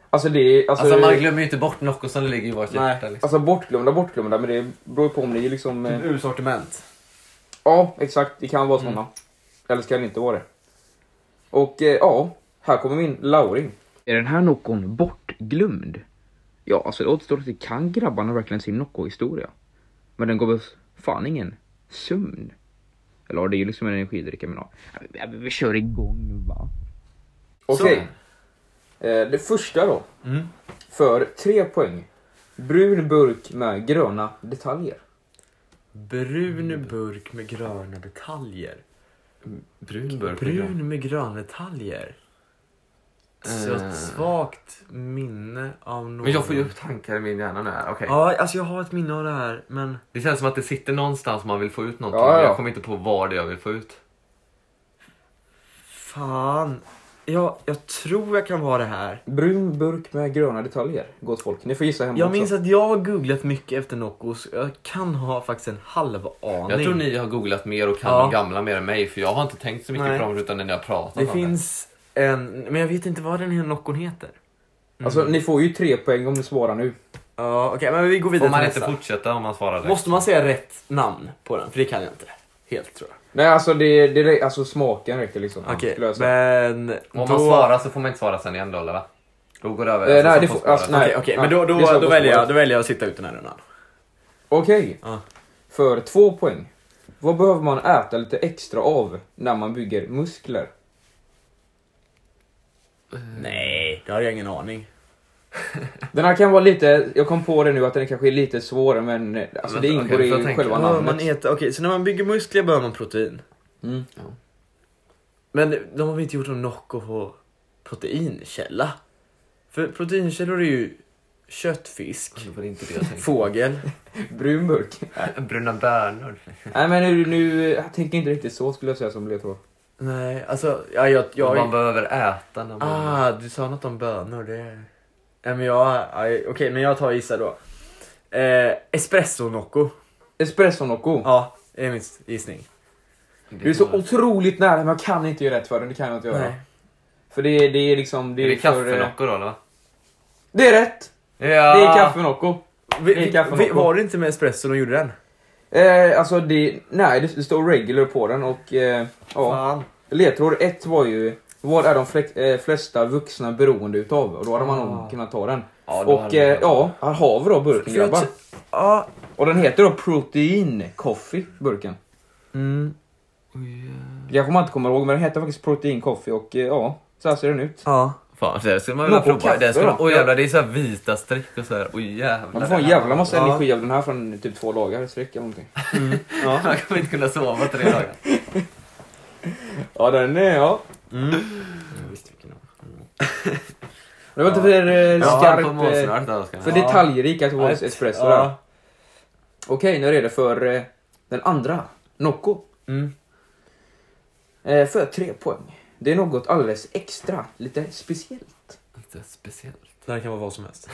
E: Alltså det är... Alltså,
C: Alltså man glömmer ju inte bort Nocco som ligger i vårt
B: Nej.
C: hjärta. Liksom.
E: alltså bortglömda, bortglömda, men det beror ju på om ni liksom... Eh,
B: Ur sortiment.
E: ja, exakt. Det kan vara såna. Eller ska det inte vara det. Och eh, ja, här kommer min lauring. Är den här Noccon bortglömd? Ja, alltså det återstår att det kan grabbarna verkligen sin Nocco-historia. Men den gav oss fan ingen sömn. Eller ja, det är ju liksom en energidricka men ja. Vi, vi, vi kör igång va. Okej. Eh, det första då.
B: Mm.
E: För tre poäng. Brun burk med gröna detaljer.
B: Brun burk med gröna detaljer.
C: Brun burk.
B: Brun med gröna detaljer. Så
C: Eh.
B: ett svagt minne av någon.
C: Men jag får ju upp tankar i min hjärna nu här. Okej.
B: Ja, alltså jag har ett minne av det här, men...
C: Det känns som att det sitter någonstans man vill få ut någonting.
E: Ja, ja.
C: Jag kommer inte på vad det är jag vill få ut.
B: Fan. Jag, jag tror jag kan vara det här.
E: Brun burk med gröna detaljer, gott folk. Ni får gissa hemma
B: Jag
E: också.
B: minns att jag har googlat mycket efter Noccos. Jag kan ha faktiskt en halv aning.
C: Jag tror ni har googlat mer och kan
B: Ja.
C: de gamla mer än mig för jag har inte tänkt så mycket
B: Nej.
C: på dem utan när ni har pratat
B: Det
C: om
B: finns en... Men jag vet inte vad den här Noccon heter.
E: Alltså ni får ju tre poäng om ni svarar nu.
B: Ja, okej, men vi går
C: det. Får
B: vidare
C: man
B: till
C: inte
B: nästa.
C: fortsätta om man svarar det?
B: Måste man säga rätt namn på den? För det kan jag inte. Helt tror jag.
E: Nej alltså, det, det, det, alltså smaken räcker liksom.
B: Okej,
E: skulle jag säga.
B: men...
C: Om
B: då...
C: man svarar så får man inte svara sen igen då eller va? Då går det över.
E: Eh, nej,
C: så
E: det
C: får
E: får-
C: svara.
E: alltså, nej.
B: Okej, okej, men då, då,
E: Vi
B: då,
E: kör på
B: väljer jag,
E: spåret.
B: då väljer jag att sitta ut den här rundan.
E: Okej.
B: Ja.
E: För två poäng. Vad behöver man äta lite extra av när man bygger muskler?
B: Nej, det har jag ingen aning.
E: Den här kan vara lite, jag kom på det nu att den kanske är lite svårare men eh, alltså, det
C: Vänta,
E: ingår
C: okej, jag
E: i
C: tänker.
E: själva
B: Vad
E: namnet.
B: man äter, okej, så när man bygger muskler behöver man protein.
E: Mm.
B: Men de har väl inte gjort någon Nocco på proteinkälla? För proteinkällor är ju köttfisk,
E: Mm.
C: Det var inte det jag
E: (laughs)
C: tänkte.
B: fågel.
E: Brun burk.
C: Bruna bönor.
E: nej men nu, nu, jag tänker inte riktigt så skulle jag säga som ledtråd.
B: Nej, alltså ja, jag... jag
C: Man behöver äta när man...
B: ah, du sa något om bönor. Det... Nej, men jag... ja, Okej, men jag tar och gissar då. Eh, espresso Nocco.
E: Espresso Nocco.
B: Ja, det är min gissning.
E: Du är så otroligt nära men jag kan inte göra rätt för den, det kan jag inte göra.
B: Nej.
E: För det, är- det är liksom... Det
C: Är
E: är,
C: det
E: för, eh,
C: kaffenockor då eller va?
E: Det är rätt!
C: Ja.
E: Det är kaffe Nocco.
B: Vi,
E: Det är kaffe
B: vi,
E: Nocco.
B: var det inte med espresso de gjorde den?
E: Eh, alltså det, nej det, det står regular på den och eh, ja.
B: Fan.
E: Ledtråd 1 var ju vad är de fle- eh, flesta vuxna beroende utav? Och då hade man nog kunnat ta den.
C: Ja, då
E: och
C: hade man
E: eh,
C: kunnat ta
E: ja, här har vi då burken
B: För jag
E: grabbar.
B: t- Ja.
E: Och den heter då Protein Coffee, burken.
B: Mm.
E: Det kanske man inte kommer ihåg men den heter faktiskt Protein Coffee och eh, ja, så här ser den ut.
B: Ja.
C: Fan, det här skulle man vilja
E: Men på
C: prova. Det
E: kaffe
C: här skulle,
E: då?
C: oj jävlar, det är så här vita streck och så här. Oj jävlar.
E: Man får
C: (laughs)
E: en jävla massa
B: Ja.
E: energi av den här från typ två dagar i sträck eller någonting.
C: Man kommer inte kunna sova tre dagar.
E: Ja den är, ja. Det var inte för eh,
C: Ja, han får
E: skarp, eh,
C: målsnöret annars.
E: för
C: För...
B: Ja.
E: detaljrik att vara espresso där.
B: Ja.
E: Okej, nu är det redo för eh, den andra. Nocco.
B: Mm.
E: Eh, för tre poäng. Det är något alldeles extra, lite speciellt.
C: Lite speciellt.
B: Det här kan vara vad som helst.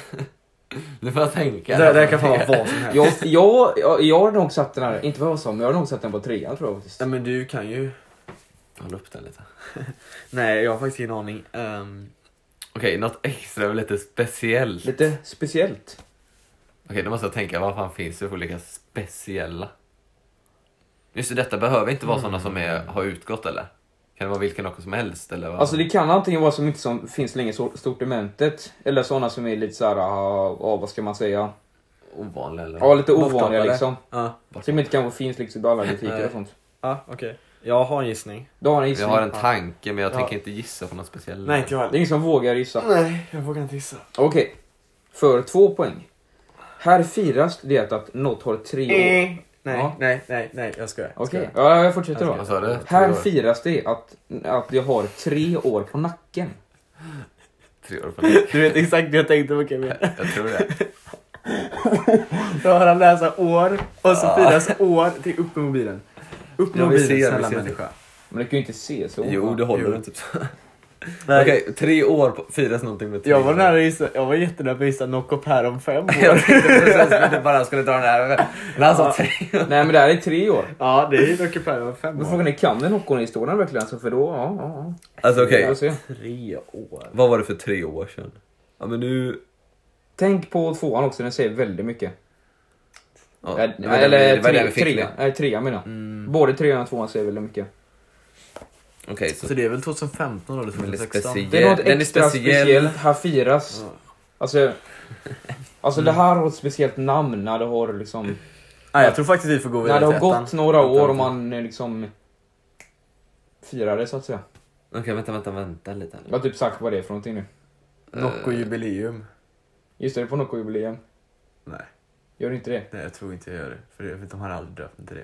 C: Nu får jag tänka.
B: Det, det här kan fan vara vad som helst.
E: Jag, jag, jag, jag har nog satt den här, inte vad jag sa, men jag har nog satt den på trean tror jag faktiskt.
B: Nej men du kan ju...
C: Håll upp den lite.
B: Nej jag har faktiskt ingen aning. Ehm,
C: Okej, något extra och lite speciellt.
E: Lite speciellt.
C: Okej, då måste jag tänka, vad fan finns det för olika speciella? Just det, detta behöver inte vara
E: Mm.
C: sådana som är, har utgått eller? Kan det vara vilken något som helst eller? Vad?
E: Alltså det kan antingen vara så mycket som finns länge i so- sortimentet, eller sådana som är lite såhär, ah, ah, vad ska man säga?
C: Ovanliga eller?
E: Ja, lite ovanliga
B: Bortdoppade.
E: liksom.
B: Ja.
E: Som inte kanske finns liksom i alla butiker och sånt.
B: Ja okej. Jag har en gissning.
E: Då har ni
C: Jag
E: gissning.
C: har en tanke men jag
B: Ja.
C: tänker inte gissa på något speciellt.
B: Nej inte jag
E: Det är ingen som vågar gissa.
B: Nej jag vågar inte gissa.
E: Okej. För två poäng. Här firas det att något har tre år.
B: Nej,
E: Ja.
B: nej, nej, nej, jag skojar. jag
E: Okej,
B: skojar.
E: ja, jag fortsätter då.
C: Vad sa du?
E: Här
C: Tre år?
E: firas det att, att jag har tre år på nacken.
C: Tre år på det.
B: Du vet exakt det jag tänkte på (laughs) Kevin.
C: (laughs) Jag tror det.
B: Då har han läsa år och så firas år till upp med mobilen. Upp med
C: Ja, vi
B: mobilen,
C: ser,
B: snälla
C: vi ser.
B: människa.
E: Men det kan ju inte se så.
C: Jo, det håller
B: Jo.
C: (laughs) du typ så.
B: Nej,
C: Okej, tre år på, firas någonting med tre
B: Jag var
C: år.
B: nära att gissa, jag var jättenära på att gissa Nocco Per om fem år.
C: (laughs)
B: (laughs)
C: Jag tänkte precis att du bara skulle dra den här. Men han sa tre år.
E: (laughs) Nej men det här är tre år.
B: ja, det är Nocco Per om fem
E: Men
B: år.
E: frågan är, kan den Hockon-historien verkligen? Alltså, för då, ja, ja, ja.
C: Alltså okej,
E: Vi får se.
B: Tre år.
C: vad var det för tre år sedan? Ja men nu...
E: Tänk på tvåan också, den säger väldigt mycket.
C: Ja,
E: Nej,
C: det var den vi-
E: eller
C: det var den vi
E: tre,
C: fick Mm.
E: trean,
C: med.
E: nej, trean menar jag. Både trean och tvåan säger väldigt mycket.
C: Okej, så
B: Så det är väl 2015 eller
C: Den är
B: 2016?
C: speciell.
E: Det är något
C: Den är
E: extra
C: speciell.
E: speciellt, här firas.
B: Ja.
E: Alltså, alltså det här har ett speciellt namn när det har liksom...
B: Nej, jag tror faktiskt vi får gå
E: När
B: vidare
E: det har
B: till ettan.
E: gått några
B: Vänta,
E: år och
B: vänta.
E: man eh, liksom firar det så att säga.
C: Okej, vänta, vänta, vänta lite.
E: Jag har typ sagt vad det är för någonting nu.
B: Nocco jubileum.
E: Just det, det är på Nocco-jubileum.
B: Nej.
E: Gör inte det?
B: Nej, jag tror inte jag gör det. För, det, för de har aldrig döpt mig till det.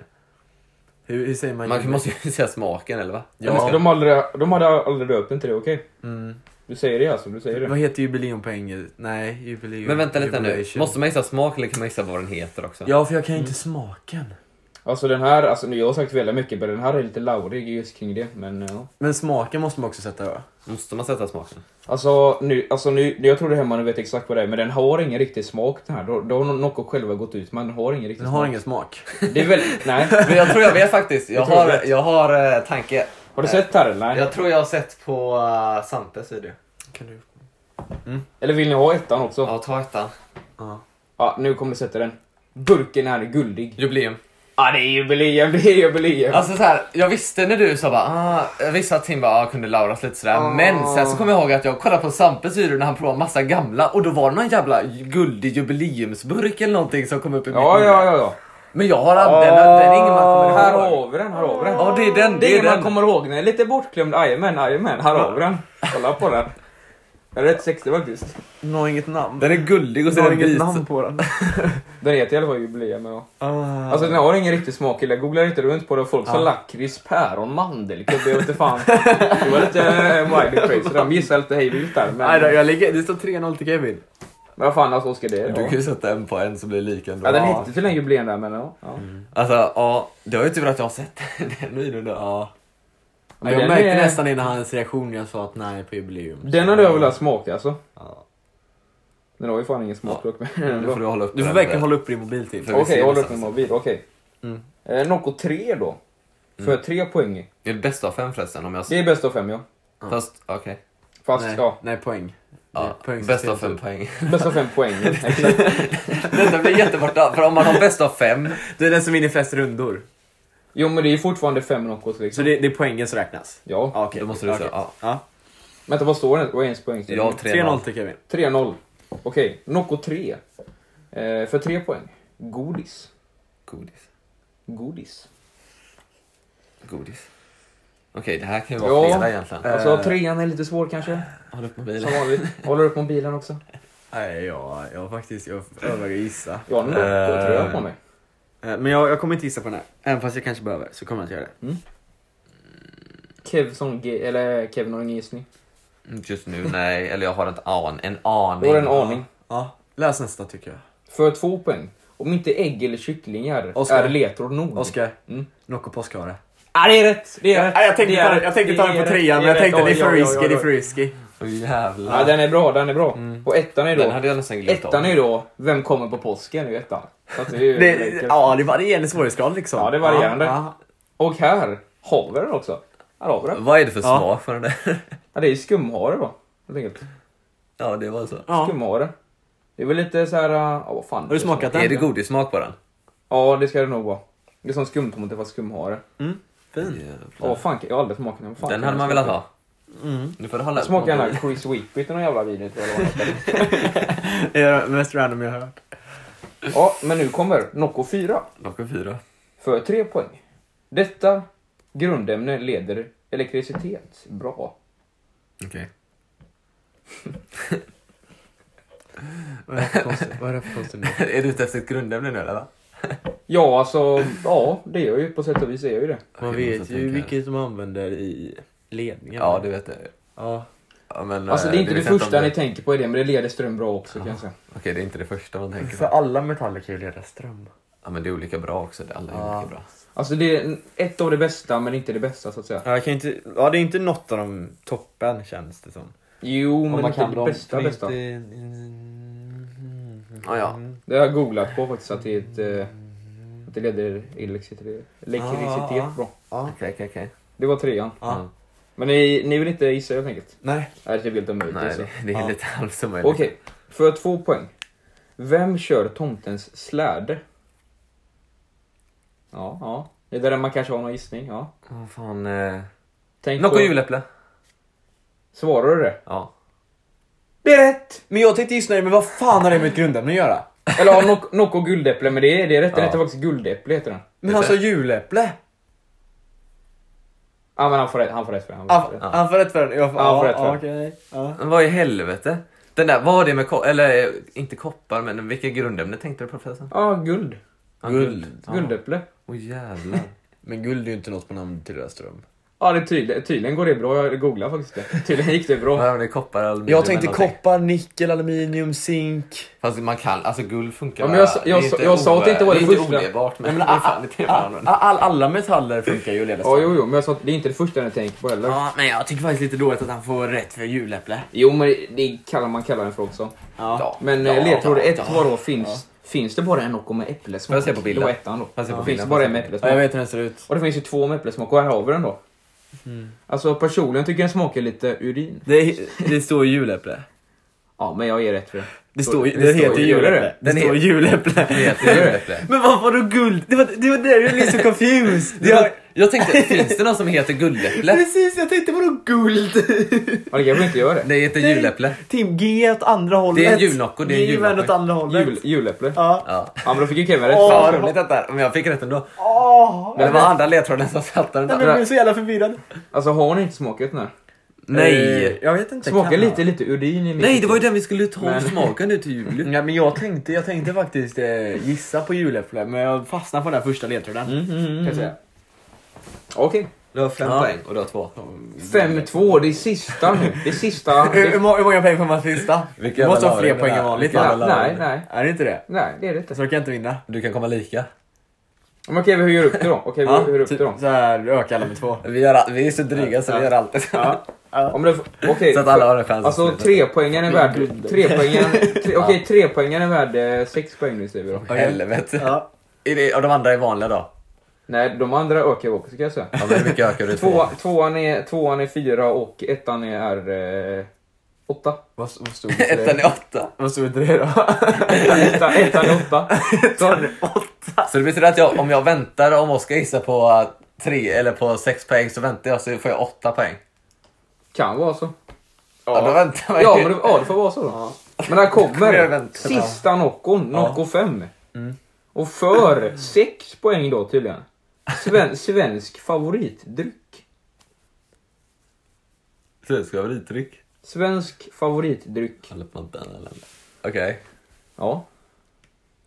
B: Hur, hur säger man?
C: Man
B: jul?
C: måste ju säga smaken eller va?
E: Ja. Men ska de, aldrig, de hade aldrig döpt den till det, okej?
B: Mm.
E: Du säger det alltså, du säger det.
B: Vad heter jubileum på engelska? Nej, jubileum.
C: Men vänta lite nu.
B: jubilation.
C: Måste man gissa smak eller kan man gissa vad den heter också?
B: Ja, för jag kan ju inte smaken.
E: Alltså den här, alltså jag har sagt väldigt mycket men den här är lite laurig just kring det. Men ja.
B: Men smaken måste man också sätta då.
C: Måste man sätta smaken?
E: Alltså nu, alltså nu, jag tror det här man vet exakt vad det är men den har ingen riktig smak den här. Då, då har Nocco själva gått ut men den har ingen riktig
B: Den
E: smak.
B: har ingen smak.
E: Det är väldigt, nej.
C: (laughs) Men jag tror jag vet faktiskt. Jag
E: tror jag
C: har,
E: vet.
C: jag har eh, tanke.
E: Har du sett här eller? Nej.
C: Jag tror jag har sett på uh, Sampes video.
B: Kan du?
E: Eller vill ni ha ettan också? Ja.
C: Ja, ta ettan.
B: Ja.
E: nu kommer du sätta den. Burken är guldig.
C: Jubileum.
E: Ja det är jubileum, det är jubileum.
C: Alltså så här, jag visste när du sa bara, ah, jag visste att Tim bara, ah, kunde Lauras lite sådär. Men sen så kom jag ihåg att jag kollade på Sampes video när han provade massa gamla och då var det någon jävla guldig jubileumsburk eller någonting som kom upp i mitt
E: ja,
C: minne.
E: ja, ja, ja.
C: Men jag har använt den, den är ingen man kommer ihåg.
E: Här har vi den, här har vi den.
C: Ja, det är den,
E: Det är
C: det är
E: ingen man
C: den.
E: kommer ihåg, den är lite bortglömd. Jajamän, jajamän, här har vi den. Kolla på den. Den är rätt sexig faktiskt.
B: Den har inget namn.
C: Den är guldig och så
B: Den
C: är
B: har
C: den
B: inget
C: vit.
B: namn på den.
E: Den heter i alla fall jubileum. Ja.
B: Ah.
E: Alltså den har ingen riktig smak. Jag googlade lite runt på det och folk sa
B: Ja.
E: lakrits, päron, mandelkubb. Jag vet inte
B: (laughs)
E: fan. Det var lite eh, wild and crazy. De gissade lite hejvilt där.
B: Nej då,
E: Men,
B: jag ligger, det står 3-0 till Kevin.
E: men vad fan alltså Oskar det är.
C: Du
E: Ja.
C: kan ju sätta en på en så blir det lika ändå.
E: Ja, den hette till en jubileum där men ja. ja.
B: Mm.
C: Alltså ja, det var ju tur att jag har sett (laughs) den videon då. Ja.
B: Ja,
E: den
B: jag märkte
E: är-
B: nästan innan hans reaktion när jag sa att nej på jubileum.
E: Den hade jag velat smaka alltså.
B: Ja.
E: Den har ju fan ingen smak
B: (laughs)
E: dock. men
C: Nu får
E: ändå.
C: du hålla upp
B: Du får
C: den.
B: verkligen hålla upp din mobil till.
C: För-
E: Okej,
C: vi
E: håll
C: ser
E: upp
C: det
E: min mobil. Okej.
B: Mm.
E: Eh, Nocco 3 då. För tre poäng.
C: Det är det bästa av fem förresten om jag...
E: Det är bäst av fem ja.
C: Fast okej.
E: Fast
B: Nej,
E: ja.
B: nej, poäng.
C: Ja,
B: Det är poängsystem,
C: bäst av fem
B: typ.
C: poäng.
E: Bäst av fem
B: (laughs)
E: poäng. Exakt.
C: Detta blir jätteborta, för om man har bäst av fem,
B: Det är den som vinner flest rundor.
E: Jo men det är ju fortfarande fem knockouts
B: Så
E: liksom.
B: det, det är poängen som räknas?
E: Ja.
B: Ja, okej.
C: då måste du
B: Okej.
C: säga ja.
B: Ja.
E: Vänta vad står det? Vad är ens
C: Jag
E: poängställning?
C: har
B: 3-0
C: 3-0.
B: till Kevin.
E: 3-0. Okej, knockout 3. Eh, för tre poäng. Godis.
C: Godis.
E: Godis.
C: Godis. Okej, det här kan ju vara
E: Ja.
C: flera egentligen.
E: Alltså
B: Eh.
E: trean är lite svår kanske.
C: Håll upp
E: Som
C: mobilen.
E: vanligt. Håller upp mobilen också.
B: Nej, jag, jag faktiskt, jag överväger gissa.
E: Jag har en knockout-tröja
B: Eh.
E: på mig.
B: Eh, Men jag, jag kommer inte gissa på den här. Även fast jag kanske behöver, så kommer jag inte göra det.
E: Kev som G- eller Kevin har ingen gissning.
C: Mm, Just nu, nej. Eller jag har en an, en aning.
E: Jag har en aning.
B: Ja, läs nästa tycker jag.
E: För två poäng. Om inte ägg eller kycklingar
B: Oskar.
E: är ledtråd nog.
B: Oskar,
E: Mm.
B: Nocco Påskhare.
E: Ja, det är rätt! Det är rätt.
B: Nej, jag tänkte
E: Det är
B: ta,
E: rätt.
B: jag tänkte ta den
E: är
B: på
E: rätt.
B: trean, men jag
E: är
B: tänkte
E: rätt.
B: det är
E: Ja,
B: för
E: ja, ja,
B: risky, det
E: ja.
B: är för risky.
C: Åh
E: Ja,
C: jävlar.
E: den är bra, den är bra.
B: Mm.
E: Och ettan är
C: Den
E: då,
C: hade jag nästan glömt
E: ettan
C: av.
E: är ju då, vem kommer på påsken? Det är ju ettan. Så att det är ju
B: Det,
E: enkelt.
B: ja, det varierar i svårighetsgrad liksom.
E: Ja, det är varierande.
B: Ja,
E: Och här har vi den också. Här har vi den.
C: Vad är det för
B: Ja.
C: smak för den där? (laughs)
E: Ja, det är ju skumhare då. Helt enkelt.
C: Ja, det var så.
B: ja.
E: Skumhare. Det är väl lite så här, äh, ja vad fan.
B: Har du smakat den?
C: Är det godissmak på den?
E: Ja, det ska det nog vara. Det är som skumtomte fast skumhare.
B: Mm.
E: Ja,
C: Jävlar.
E: vad fan, jag har aldrig smakat den. Vad fan
C: Den
E: kan
C: hade
E: jag
C: man
E: smaka?
C: velat ha.
B: Mm.
C: Nu får du hålla upp
E: Smaka den här
C: mobilen.
E: Chris Whippet och någon jävla video tror jag det var.
B: Det är det mest random jag har hört.
E: Ja, men nu kommer Nocco 4
C: Klockan fyra.
E: för 3 poäng. Detta grundämne leder elektricitet. Bra. (laughs)
C: Okej.
B: Vad är det för konstigt? Vad är det för konstigt nu?
C: Är du ute efter ett grundämne nu eller? va?
E: Ja, alltså, ja, det är jag ju. På sätt och vis är jag ju det.
B: Man
C: Okej,
B: vet
C: måste
B: ju
C: tänka här.
B: vilket de använder i ledningen.
C: Ja, du vet det.
B: Ja.
C: Ja, men,
E: Alltså, det är
C: eh,
E: inte det
C: vet jag
E: första
C: om
E: ni
C: det-
E: tänker på är det, men det leder ström bra också kan jag säga.
C: Okej, det är inte det första man tänker
B: För
C: på.
B: alla metaller kan ju leda ström.
C: Ja, men det är olika bra också. Det- Alla är
B: Ja.
C: olika bra.
E: Alltså, det är ett av det bästa, men inte det bästa så att säga.
B: Ja, jag kan ju inte, ja det är inte något av de toppen känns det som.
E: Jo, men
B: Om
E: inte det bästa
B: men
E: bästa.
B: inte-
C: Ja, ja.
E: Det har jag googlat på faktiskt, att det, är ett, eh, att det leder elektricitet, elektricitet
B: Ah, ah.
E: bra.
C: Okej, okej, okej.
E: Det var trean.
B: Ja.
C: Mm.
E: Men ni, ni vill inte gissa helt enkelt?
B: Nej.
E: Nej, det är helt omöjligt.
C: Nej,
E: alltså.
C: det, det är
B: Ja.
C: lite halvt omöjligt.
E: Okej, för två poäng. Vem kör tomtens släde? Ja, ja. Det är där man kanske har någon gissning. Ja.
C: Åh, fan. Eh...
E: Tänk
C: Nocco
E: på...
C: juläpple.
E: Svarar du det?
C: Ja.
B: Det är rätt! Men jag tänkte just nu, men vad fan har det med ett grundämne att göra?
E: Eller ja, Noc- Nocco guldäpple, men det är, det är rätt. Det
C: Ja.
E: heter faktiskt guldäpple heter den.
B: Men han sa juläpple!
E: Ja, men han får rätt, han får rätt för det. Han får
B: Han,
E: rätt.
B: han får rätt Ah, för den. Jag får,
E: Ja, han får rätt för den.
B: okej. Ja.
C: Men vad i helvete? Den där, vad har det med ko- Eller eh, inte koppar, men vilka grundämnen tänkte du på förresten?
E: Ja, guld.
C: Ja,
B: Guld.
C: Ja.
E: Guldäpple. (laughs)
C: Åh jävlar.
B: Men guld är ju inte något på namn till Röström.
E: Ja, det tydligen, tydligen går det bra. Jag googlar faktiskt det. Tydligen gick det bra.
C: Vad är det koppar, aluminium
B: Jag tänkte
C: eller någonting?
B: koppar, nickel, aluminium, zink.
C: Fast man kan, alltså guld funkar
E: Ja, men jag sa-
C: bara- det
E: jag
C: är
E: sa-
C: inte
E: jag sa att det inte var det
C: Det är
E: första. ah,
C: inte odelbart, men,
B: Nej,
C: det är fan lite jävla annorlunda.
B: all, alla metaller funkar ju att leda
E: Ja, jo, jo, men jag sa att det är inte det första ni tänker på heller.
B: Ja, men jag tycker faktiskt lite dåligt att han får rätt för juläpple.
E: Jo, men det kallar man kallar den för också.
B: Ja.
E: Men eh,
B: Ja,
E: ja, ledtråd
B: ja,
E: 1
B: ja.
E: var då finns, finns det bara en Nocco med äpplesmak?
C: Får jag se på bilden?
E: Det var ettan då.
C: Får jag se på
E: Det
C: bilden?
E: finns det
C: Får
E: bara
C: jag
E: en
C: se
E: med
C: på
B: Ja, jag
E: äpplesmak.
B: vet hur den ser ut.
E: Och det finns ju två med äpplesmak och här har vi den då. Alltså personligen tycker jag den smakar lite urin.
B: Det, det står ju juläpple.
E: Ja, men jag ger rätt för det.
B: Det
E: Så-
B: står,
E: det
B: det den
E: står
B: heter
E: ju- gör
B: juläpple.
E: det?
B: Den
C: Den
B: står
C: he- Det
B: juläpple.
C: heter
E: (laughs)
C: juläpple.
B: Men varför då guld? Det var det, var där jag blev så confused. (laughs) Det
C: Jag,
B: var,
C: jag tänkte, finns det någon som
B: (laughs)
C: heter guldäpple?
B: precis, jag tänkte vadå guld?
E: Ja, det kanske inte gör det.
C: Det heter
B: Nej.
C: juläpple.
B: Tim, ge åt andra hållet.
C: Det är en julnocco, det är en
B: Ge mig
C: julnocco.
B: åt andra hållet.
E: Jul, juläpple. Ja.
B: Ja.
C: Ja.
E: men då fick ju Kevin rätt.
B: Åh,
E: Fan,
C: Vad roligt detta Men jag fick rätt ändå.
B: Åh!
C: Men det var andra ledtråden som satte den
B: Jag
C: där.
B: blev så jävla förvirrad.
E: Alltså har ni inte smakat den här?
B: Eh,
C: Nej!
B: Jag vet inte.
E: Smakar
B: kan
E: lite, lite urin i min
C: Nej, det var ju den vi skulle ta
E: Men-
C: och smaka nu till jul.
B: Ja, men jag tänkte, jag tänkte faktiskt eh, gissa på juläpple, men jag fastnade på den här första ledtråden.
E: Mm, mm, mm,
B: Kan jag
E: mm.
B: säga.
E: Okej.
C: Du har fem
B: Ja.
C: poäng och du har två. Mm.
E: 5-2, det är sista nu. Det är sista.
C: (laughs)
B: Hur, hur
E: Det,
B: må- hur många poäng får man sista?
C: Vilka
B: Du måste
C: jävla
B: ha fler
C: lager
B: poäng
C: det
B: än
C: där.
B: vanligt.
E: nej,
B: va?
E: nej, nej.
B: Är det inte det?
E: Nej, det är det inte.
B: Så jag kan inte vinna.
C: Du kan komma lika.
E: Men okej, hur gör du upp det då? Okej,
B: Ja,
E: hur gör du upp det
B: typ
E: då?
B: så här, ökar alla med två.
C: Vi, gör, all- vi är så dryga så vi gör allt.
B: Ja.
E: Om det, okej,
C: Så att alla har en chans.
E: Alltså
C: att sluta. Mm.
E: trepoängaren är värd... Trepoängaren... Tre, Okej, trepoängaren är värd eh, sex poäng nu säger vi då.
B: Okej.
C: (laughs) Helvete.
B: Ja.
C: Är det, och de andra är vanliga då?
E: Nej, de andra ökar ju också kan jag säga.
B: (laughs)
C: Ja, men hur mycket ökar du?
E: Två, tvåan, är, tvåan är fyra och ettan är... är eh,
C: (laughs)
E: Åtta.
B: Vad, vad stod det till
C: Ettan
B: det?
C: är åtta.
B: Vad stod det till det då?
E: Ettan ettan är åtta.
C: Så det betyder att jag, om jag väntar, om Oskar gissar på eh, tre eller på sex poäng så väntar jag så får jag åtta poäng.
E: Kan vara så.
C: Ja, då väntar man ju.
E: Ja, men det, ja, det får vara så då. Men den
C: Kommer jag
E: kommer.
C: vänta?
E: Sista Noccon, Nocco 5. Och för sex poäng då tydligen. Sven, svensk favoritdryck.
C: Svenska favoritdryck.
E: Svensk favoritdryck.
C: Eller på den eller Okej.
E: Ja.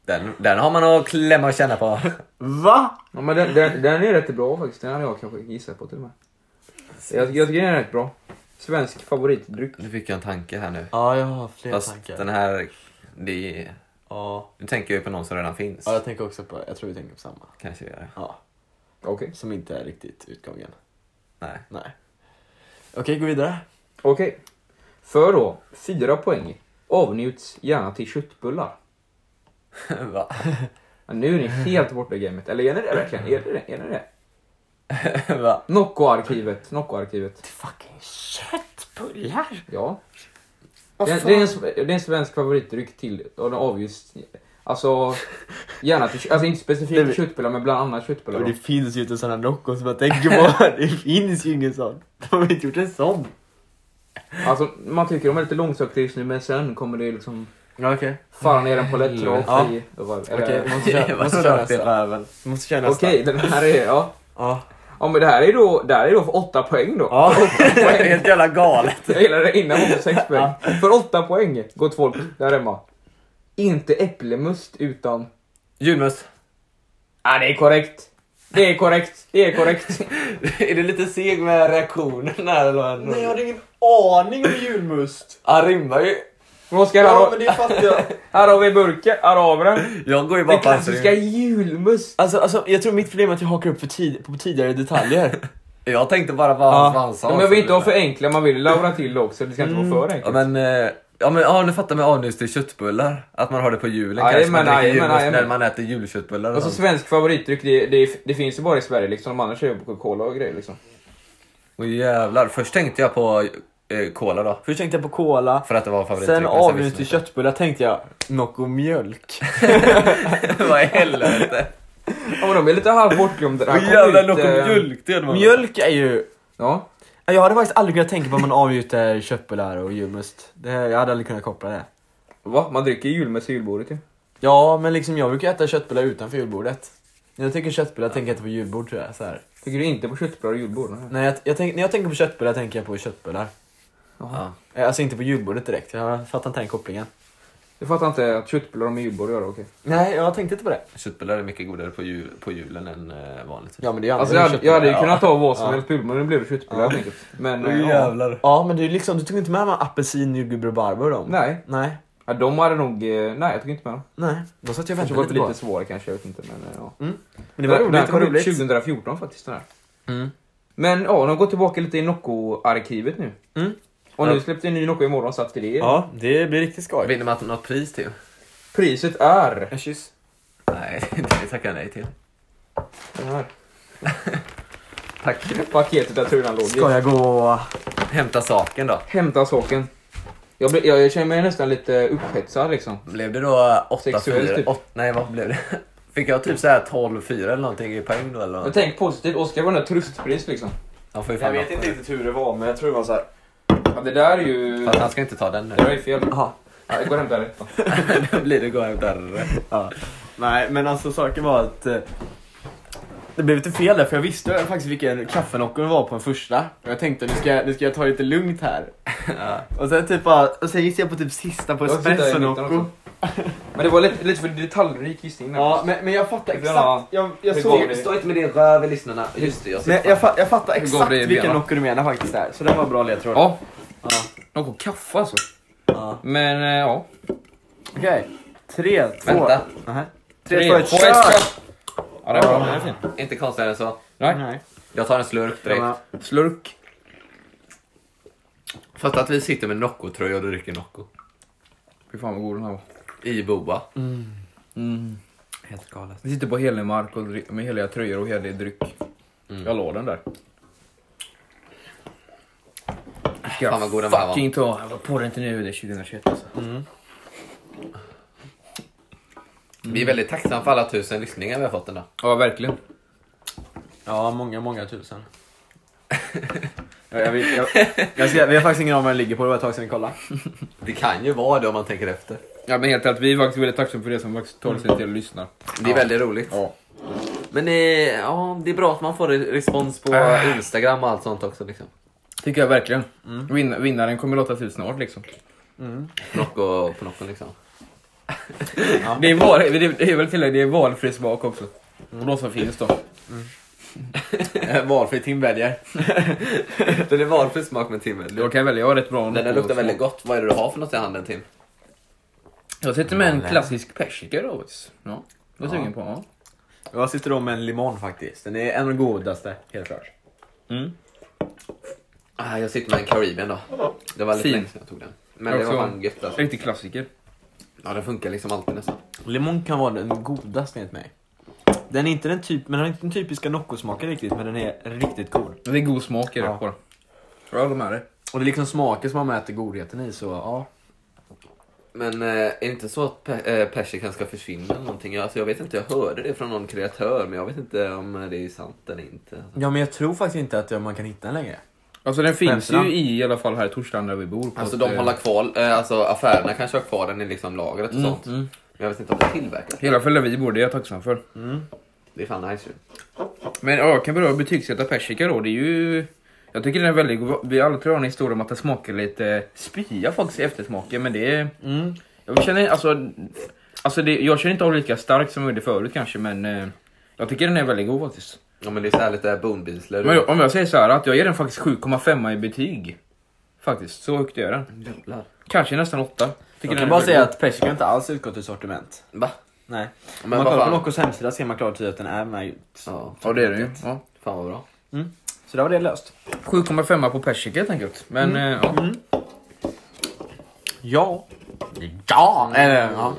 C: Den, den har man att klämma och känna på.
B: Va?
E: ja men den, den, den är rätt bra faktiskt. Den hade jag kanske gissat på till och med. Jag, jag tycker den är rätt bra. Svensk favoritdryck.
C: (laughs) Nu fick jag en tanke här nu.
B: Ja, jag har fler
C: Fast
B: tankar.
C: den här... Det är,
B: Ja.
C: nu tänker jag ju på någon som redan finns.
B: ja, jag tänker också på, jag tror vi tänker på samma.
C: Kanske gör det.
B: Ja,
E: Okej.
B: som inte är riktigt utgången.
C: Nej.
B: Nej. Okej, gå vidare.
E: Okej. För då, fyra poäng. Avnjuts gärna till köttbullar.
C: (laughs) Va?
E: Ja, Nu är ni helt borta i gamet. Eller är ni det verkligen? Är ni det? Är ni det?
C: Va?
E: Nocco-arkivet. Nocco-arkivet.
B: Fucking köttbullar!
E: Ja. Det är, det, är en, sv- det är en svensk favoritdryck till och den avgjorts... Alltså, gärna till, kö- alltså inte specifikt till köttbullar men bland annat köttbullar.
B: Och
E: då.
B: det finns ju inte sådana dockor som jag tänker (laughs) på. Det finns ju ingen sån. De har inte gjort en sån.
E: Alltså, man tycker de är lite långsökta just nu men sen kommer det liksom
B: Ja, okej.
E: fara ner en palett rakt
B: Ja.
E: i. och bara- eller-
B: Okej, måste köra,
C: Vad
B: måste köra
C: rakt i
B: nästa. även. Måste köra (laughs) nästa.
E: Okej, den här är... Ja.
B: Ja.
E: ja men det här är då, det här är då för åtta poäng då.
B: Ja. (laughs)
E: Poäng.
C: Helt jävla galet.
E: Jag gillar det innan man får sex poäng. För åtta poäng går folk där hemma. Inte äpplemust utan...
C: Julmust.
E: Ja, det är korrekt. Det är korrekt. Det är korrekt.
B: (laughs)
C: är du lite seg med reaktionen här eller?
B: Nej, jag hade ingen aning om julmust.
C: Han rimmar ju.
E: Men Oskar, här,
B: Ja,
E: har-
B: men det fattar jag.
E: här har vi burken. Här har vi den.
C: Jag går ju bara
E: Den
C: på hans
E: klassiska
C: rim.
E: julmust.
B: (laughs) Alltså, alltså, jag tror mitt problem är att jag hakar upp för tid, på tidigare detaljer.
C: Jag tänkte bara på hans svansar.
E: Men jag vill inte vara för enkla, man vill laura till det också. Det ska inte vara för
B: Mm.
C: Ja
E: enkelt.
C: men, eh, ja, men ja, nu fattar man anus till köttbullar. Att man har det på julen
E: Aj,
C: kanske.
E: men,
C: Man dricker
E: aj, men,
C: julmust
E: aj,
C: när
E: men.
C: man äter julköttbullar. Och
E: Alltså
C: sånt.
E: svensk favoritdryck, det, det, det finns ju bara i Sverige liksom. De andra kör ju på Coca-Cola och grejer liksom.
C: Åh jävlar. Först tänkte jag på eh, cola då.
B: Först tänkte jag på cola.
C: För att det var favoritdryck.
B: Sen
C: men
B: avgjorde
C: visste
B: till
C: jag
B: köttbullar tänkte jag, Nocco (laughs) mjölk.
C: inte. Vad i (laughs) helvete.
E: Ja, men de är lite halvt bortglömda. Det här
C: Åh
E: kom
C: jävlar,
E: ut,
C: något
E: eh,
C: om mjölk. Det hade man.
B: Mjölk är ju...
E: Ja.
B: Jag hade faktiskt aldrig kunnat tänka på att man avgjuter köttbullar och julmust. Det, jag hade aldrig kunnat koppla det.
E: Va? Man dricker ju julmust i julbordet ju.
B: Ja, men liksom jag brukar äta köttbullar utanför julbordet. När jag tänker köttbullar tänker jag inte på julbord tror jag. Så här.
E: Tycker du inte på köttbullar och julbord? Nej.
B: Nej, jag, jag tänk, när jag tänker på köttbullar tänker jag på köttbullar.
C: Ja.
B: Eh, Alltså inte på julbordet direkt, jag fattar inte den kopplingen.
E: Jag fattar inte att köttbullar och julbord gör det, okej.
B: Nej, jag tänkte inte på det.
C: Köttbullar är mycket godare på, jul, på julen än eh, vanligt.
B: Ja, men det är ju
E: Alltså
B: andra
E: jag hade, jag hade ju
B: köttbullar,
E: kunnat ta vad som
B: Ja.
E: helst på julbord, men nu blev det köttbullar helt enkelt. Men
C: Åh,
E: eh, ja.
C: jävlar.
B: Ja, men du, liksom, du tog inte med mig apelsin, jordgubb, rabarber och dem?
E: Nej.
B: Nej,
E: ja, de hade nog... eh, Nej, jag tog inte med dem.
B: nej. Då satt jag och
E: Kanske
B: väntade
E: var det
B: lite
E: lite
B: på.
E: svårare kanske, jag vet inte. Men, eh, ja.
B: Men Mm. det var
E: den, den
B: roligt, det
E: kom
B: var
E: ut
B: roligt.
E: 2014 faktiskt. Den här.
B: Mm.
E: Men ja, de går tillbaka lite i Nocco-arkivet nu.
B: Mm.
E: Och nu släppte en ny Nocco imorgon, så att det är...
B: Ja, det blir riktigt skoj.
C: Vinner man något pris till?
E: Priset är...
B: En kyss.
C: Nej, (laughs) det tackar jag nej till.
E: Den här.
C: Tack.
E: Paketet där trudan låg
B: Ska
E: i.
B: jag gå...
C: Hämta saken då.
E: Hämta saken. Jag, blir- jag, jag känner mig nästan lite upphetsad liksom.
C: Blev det då 8-4?
E: Sexuellt, typ.
C: Åt- Nej, vad blev det? (laughs) Fick jag typ såhär 12-4 eller någonting i poäng då eller?
E: Men
C: något?
E: tänk positivt, Oskar var den där tröstpris liksom.
C: Han får ju fan något.
B: riktigt hur det var, men jag tror det var såhär...
E: Ja, det där är ju...
C: Fast han ska inte ta den nu. (laughs)
E: Det där är ju fel.
B: Jaha.
E: Ja, jag går och hämtar rätt då.
C: Då blir det gå hem där.
B: Ja. Nej, men alltså saken var att... eh, Det blev lite fel där, för jag visste faktiskt vilken kaffenocko det var på den första. Och jag tänkte nu ska, nu ska jag ta det lite lugnt här. (laughs) Och sen typ bara, och sen gissade jag på typ sista på
E: Jag sitter där i mitten
B: espressonocco.
E: också. Men det var lite, lite för detaljrik gissning där.
B: Ja, men, men jag fattar
E: Det var-
B: exakt. Jag, jag
E: det
B: såg...
E: går-
C: Stå inte med din röv i lyssnarna. Just det, jag
B: Men jag, fa- jag fattar
E: går
B: exakt
E: det i
B: vilken
E: benen?
B: nocko du menar faktiskt där. Så den var bra ledtråd.
E: Ja.
B: Ja.
E: Något kaffe alltså.
B: Ja.
E: Men eh, ja.
B: Okej. Tre, två...
C: Vänta,
B: Nähä. Tre,
E: Tre,
B: två,
E: två,
B: ett
E: ett,
B: kör!
E: kör! Ja, det är bra. Den är fin.
C: inte konstigare än så.
B: Nej.
C: Jag tar en slurk direkt.
B: Ja,
E: Slurk.
C: Fast att vi sitter med Nocco-tröja och dricker Nocco.
E: Fy fan vad god den här var.
C: I boa.
E: Helt galet. Vi sitter på helig mark och dri- med heliga tröjor och helig dryck. Jag la den där.
D: Ska
C: Fan vad god den här var.
D: fucking ta. Jag var på den till nu, det är 2021 alltså.
C: Vi är väldigt tacksamma för alla tusen lyssningar vi har fått ändå.
E: Ja, verkligen.
B: Ja, många, många tusen. (laughs) ja, jag vet- jag, jag ska, vi har faktiskt ingen aning om vad den ligger på, det var ett tag sedan vi kollade.
C: Det kan ju vara det om man tänker efter.
E: Ja, men helt ärligt, vi är faktiskt väldigt tacksamma för det som faktiskt tar
C: Mm.
E: sig till att lyssna.
C: Det är väldigt roligt.
E: Ja.
C: Men eh, ja, det är bra att man får respons på Instagram och allt sånt också. Liksom.
E: Tycker jag verkligen.
C: Mm.
E: Vin- vinnaren kommer låta till snart liksom.
C: Nocco på Nocco liksom.
E: Det, är val, det, är- det är väl tillägg, det är valfri smak också. Och de som finns då.
B: Valfri Tim väljer.
C: (laughs) Den är valfri smak med timmen.
E: Jag kan välja, jag har rätt bra
C: Den där
E: nocco
C: luktar
E: smak.
C: väldigt gott. Vad är det du har för något i handen Tim?
E: Jag sätter med en klassisk persika då. faktiskt. Ja, jag är sugen på. Ja.
B: Jag sitter då med en limon faktiskt. Den är en av de godaste, helt klart.
C: Ah, jag sitter med en Caribbean då. Det var lite
E: Fin.
C: länge sedan jag tog den. Men
E: Jag
C: det var
E: också.
C: fan gött alltså.
E: Riktig klassiker.
C: Ja, den funkar liksom alltid nästan.
B: Limon kan vara den godaste enligt mig. Den är inte den, typ, men den, är inte den typiska Nocco-smaken riktigt, men den är riktigt god.
E: Det är god smak i det
B: Ja.
E: på den. Jag håller med dig.
B: Och det är liksom smaken som man mäter godheten i, så ja.
C: Men eh, är det inte så att pe- eh, persikan ska försvinna eller någonting? Alltså, jag vet inte, jag hörde det från någon kreatör men jag vet inte om eh, det är sant eller inte.
B: Ja, men jag tror faktiskt inte att jag- man kan hitta den längre.
E: Alltså den finns
B: Vänsterna.
E: ju i, i alla fall här i Torslanda där vi bor. på
C: Alltså
E: ett,
C: de
E: eh,
C: håller kvar, eh, alltså affärerna kanske har kvar den i liksom lagret och sånt.
E: mm.
C: Men jag vet inte om det tillverkas.
E: Hela fallet där vi bor, det är jag tacksam för.
C: Det är fan nice ju.
E: Men ja, jag kan börja betygsätta persika då. Det är ju... Jag tycker den är väldigt god. Vi alla tror har en historia om att den smakar lite spya faktiskt i eftersmaken. Men det är...
B: Mm.
E: Jag känner alltså... alltså det, jag känner inte av lika starkt som jag gjorde förut kanske men... eh, Jag tycker den är väldigt god faktiskt.
C: Ja men det är så här lite bonbinsler.
E: Men jag- om jag säger så här att jag ger den faktiskt 7,5 i betyg. Faktiskt, så högt gör jag den.
C: Jävlar.
E: Kanske nästan 8. Tycker
B: Jag
E: den
B: kan
E: är
B: bara
E: väldigt
B: säga
E: god.
B: att persika inte alls utgått ur sortiment.
C: Va?
B: Nej. Om man
C: Men vad
B: kollar på
C: fan.
B: Noccos hemsida ser man klart tydligt att den är med.
C: Ja,
E: Ja det är den ju. Ja.
C: fan vad bra.
B: Så där var det löst.
E: 7,5 på persika helt enkelt. Men eh, ja.
B: Ja. Ja! Eller, ja.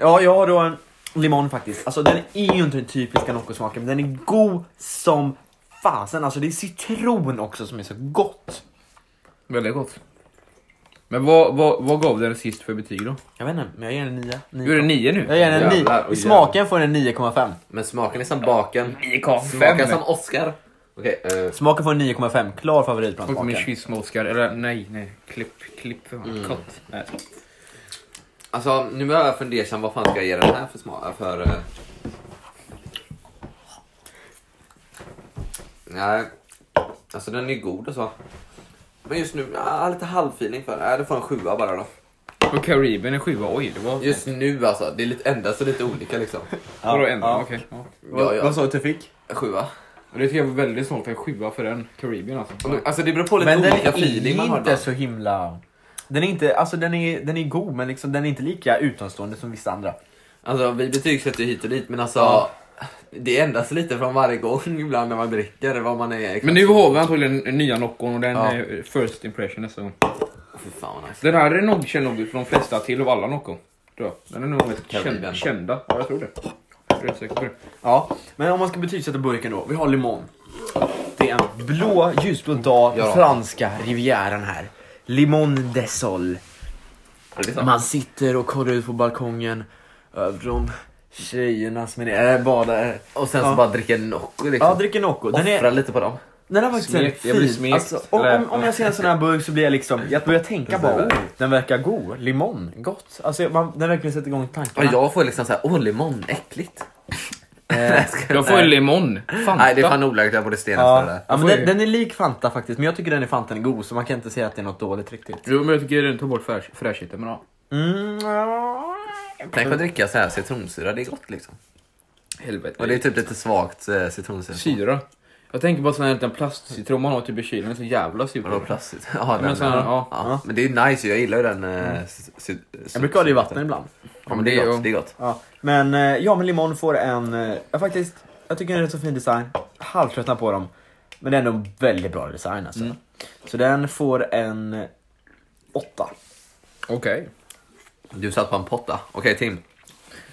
B: ja, jag har då en limon faktiskt. Alltså den är ju inte den typiska Nocco-smaken, men den är god som fasen. Alltså det är citron också som är så gott.
E: Väldigt gott. Men vad, vad, vad gav den sist för betyg då?
B: Jag vet inte, men jag ger den en nia.
E: Du är det 9 nu?
B: Jag ger den en
C: Jävlar,
B: nio.
C: oj,
B: I smaken får den en 9,5.
C: Men smaken är som baken.
E: 9,5.
C: Smakar som Oscar. Okej, eh,
B: Smaken får en 9,5. Klar favorit bland
E: Och min
B: smaken.
E: kyss med Oscar. Eller nej, nej. Klipp, klipp. för fan.
B: Mm.
E: Cut. Nej.
C: alltså nu är jag fundersam vad fan ska jag ge den här för smak? För... eh, Nej, alltså den är god och så. Men just nu, jag har lite halvfeeling för den. Nej, det får en sjua bara då.
E: Och Caribbean är 7 Oj, det var...
C: Just nu alltså, det är lite, endast lite
B: (laughs)
C: olika liksom.
B: Ja,
E: Vadå en?
B: ja.
E: Okej. Ja.
C: Ja, ja.
B: Vad sa du att du fick?
C: Sjua.
E: Och Det tycker jag var väldigt snålt. En 7 för den. Caribbean alltså.
C: Alltså det beror på lite
B: Men den
C: olika
B: är
C: feeling man har.
B: inte
C: ibland.
B: så himla... Den är inte, alltså den är, den är god men liksom den är inte lika utomstående som vissa andra.
C: Alltså vi betygsätter ju hit och dit men alltså
B: Ja.
C: det ändras lite från varje gång ibland när man dricker vad man är.
E: Men nu har vi antagligen den nya Noccon och den
C: Ja.
E: är first impression nästa gång.
C: Fy fan vad nice.
E: Den här är nog känd nog för de flesta till av alla Noccon. tror jag. Den är nog mest
C: Caribbean.
E: känd, kända. Ja, jag tror det. Jag är rätt säker på det.
B: Ja, men om man ska betygsätta burken då. Vi har limon. Det är en blå ljusblå dag på
C: Ja.
B: franska rivieran här. Limon de sol.
C: Är det sant?
B: Man sitter och kollar ut på balkongen över de tjejerna som är nere, äh, badar.
C: Och sen så
B: Ja.
C: bara dricka Nocco liksom.
B: Ja, dricker Nocco. Den
C: Offra
B: är,
C: lite på dem.
B: den är faktiskt
E: Smekt, jag blir
B: väldigt fin.
E: smekt.
B: Alltså, om, om, om jag ser en sån här burk så blir jag liksom, jag börjar tänka bara, oh, den verkar god. Limon, gott. Alltså man, den verkligen sätter igång
C: Och
B: tankarna.
C: jag får liksom såhär, åh limon, äckligt.
E: Jag får ju limon. Fanta.
C: Eh, Nej det är fan olagligt, jag borde stenas för
B: Ja,
C: det där.
B: ja, men
E: Oj.
B: den, den är lik Fanta faktiskt, men jag tycker den är Fantan är god så man kan inte säga att det är något dåligt riktigt.
E: Jo, men jag tycker den tar bort fräsch- fräschheten. Men ja.
B: Mm, ja.
C: Tänk att dricka så här citronsyra, det är gott liksom.
E: Helvete.
C: Och det är typ lite svagt eh, citronsyra.
E: Syra. Jag tänker bara sån här liten plastcitron man har typ i kylen. Den är så jävla sur.
C: Vadå plastigt? (laughs) Ja, den,
E: men sen-
C: ja.
E: ja.
C: Ja. Men det är nice, jag gillar ju den. eh, ci- ci-
B: Jag brukar ha det i vatten ibland.
C: Ja men det är gott, det är gott.
B: Ja. Men eh, ja, men limon får en, eh, ja, faktiskt, jag tycker den är rätt så fin design. Halvtröttnar på dem. Men det är ändå en väldigt bra design alltså. Så den får en eh, åtta.
E: Okej.
C: Du satt på en potta. Okej Tim.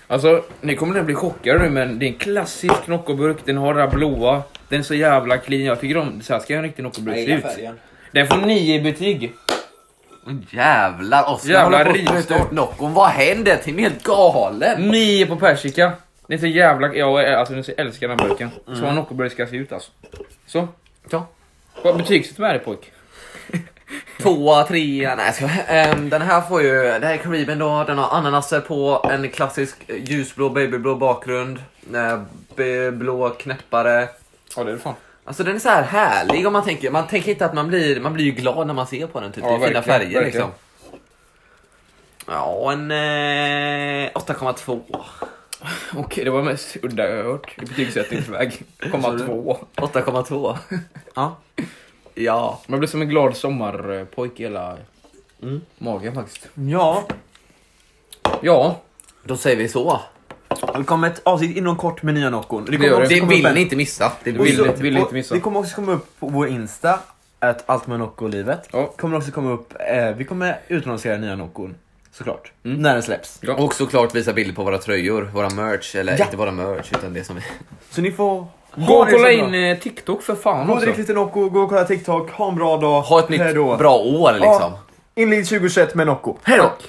E: Alltså, ni kommer nog bli chockade nu men det är en klassisk Noccoburk. Den har det här blåa. Den är så jävla clean. Jag tycker om... Så här ska en riktig Noccoburk se ut. Den får 9 i betyg.
C: Jävlar, Oskar
E: Jävla
C: håller på att
E: rivstart.
C: spruta ut Noccon. Vad händer? Tim är helt galen.
E: 9 på persika. Det är så jävla... Jag alltså, jag älskar den här burken. Så
C: Mm.
E: har Noccoburk ska se ut alltså. Så.
C: Ja.
E: Vad betygsätter med det pojk?
C: Tvåa, trea, nej jag skojar. Ehm, Den här får ju, det här är Caribbean då, den har ananaser på, en klassisk eh, ljusblå babyblå bakgrund, eh, be- blå knäppare.
E: Ja det är det fan.
C: Alltså den är så här härlig om man tänker, man tänker inte att man blir, man blir ju glad när man ser på den typ,
E: Ja,
C: det är fina
E: verkligen,
C: färger
E: verkligen.
C: liksom. Ja, en eh, 8,2.
E: Okej, det var mest udda jag har hört i
B: (laughs)
E: betygssättningsväg. Komma två.
C: (laughs) 8,2.
B: Ja.
C: Ja.
E: Man blir som en glad sommarpojke i hela
B: Mm.
E: magen faktiskt.
B: Ja,
E: Ja,
C: Då säger vi så.
B: det kommer ett avsnitt inom kort med nya Noccon. Det,
E: gör
B: också
C: Det
B: komma upp
C: vill
B: en-
C: ni inte missa. Det
E: vill
C: vill
E: ni
C: ni.
E: inte- vill ni inte missa.
B: Det kommer också komma upp på vår Insta, att allt med Nocco-livet.
E: Ja.
B: Kommer också komma upp, eh, vi kommer utannonsera nya Noccon. Såklart. När den släpps.
E: Ja.
C: Och såklart visa bilder på våra tröjor, våra merch, eller
B: Ja.
C: inte våra merch utan det som vi...
B: Så ni får
E: gå
B: ha
E: och kolla
B: det så bra.
E: in eh, TikTok för fan
B: Gå och
E: också.
B: drick lite Nocco, gå och kolla TikTok, ha en bra dag.
C: Ha ett nytt
B: Hej då.
C: bra år liksom.
B: Ja, inled 2021 med Nocco.
C: Hej då!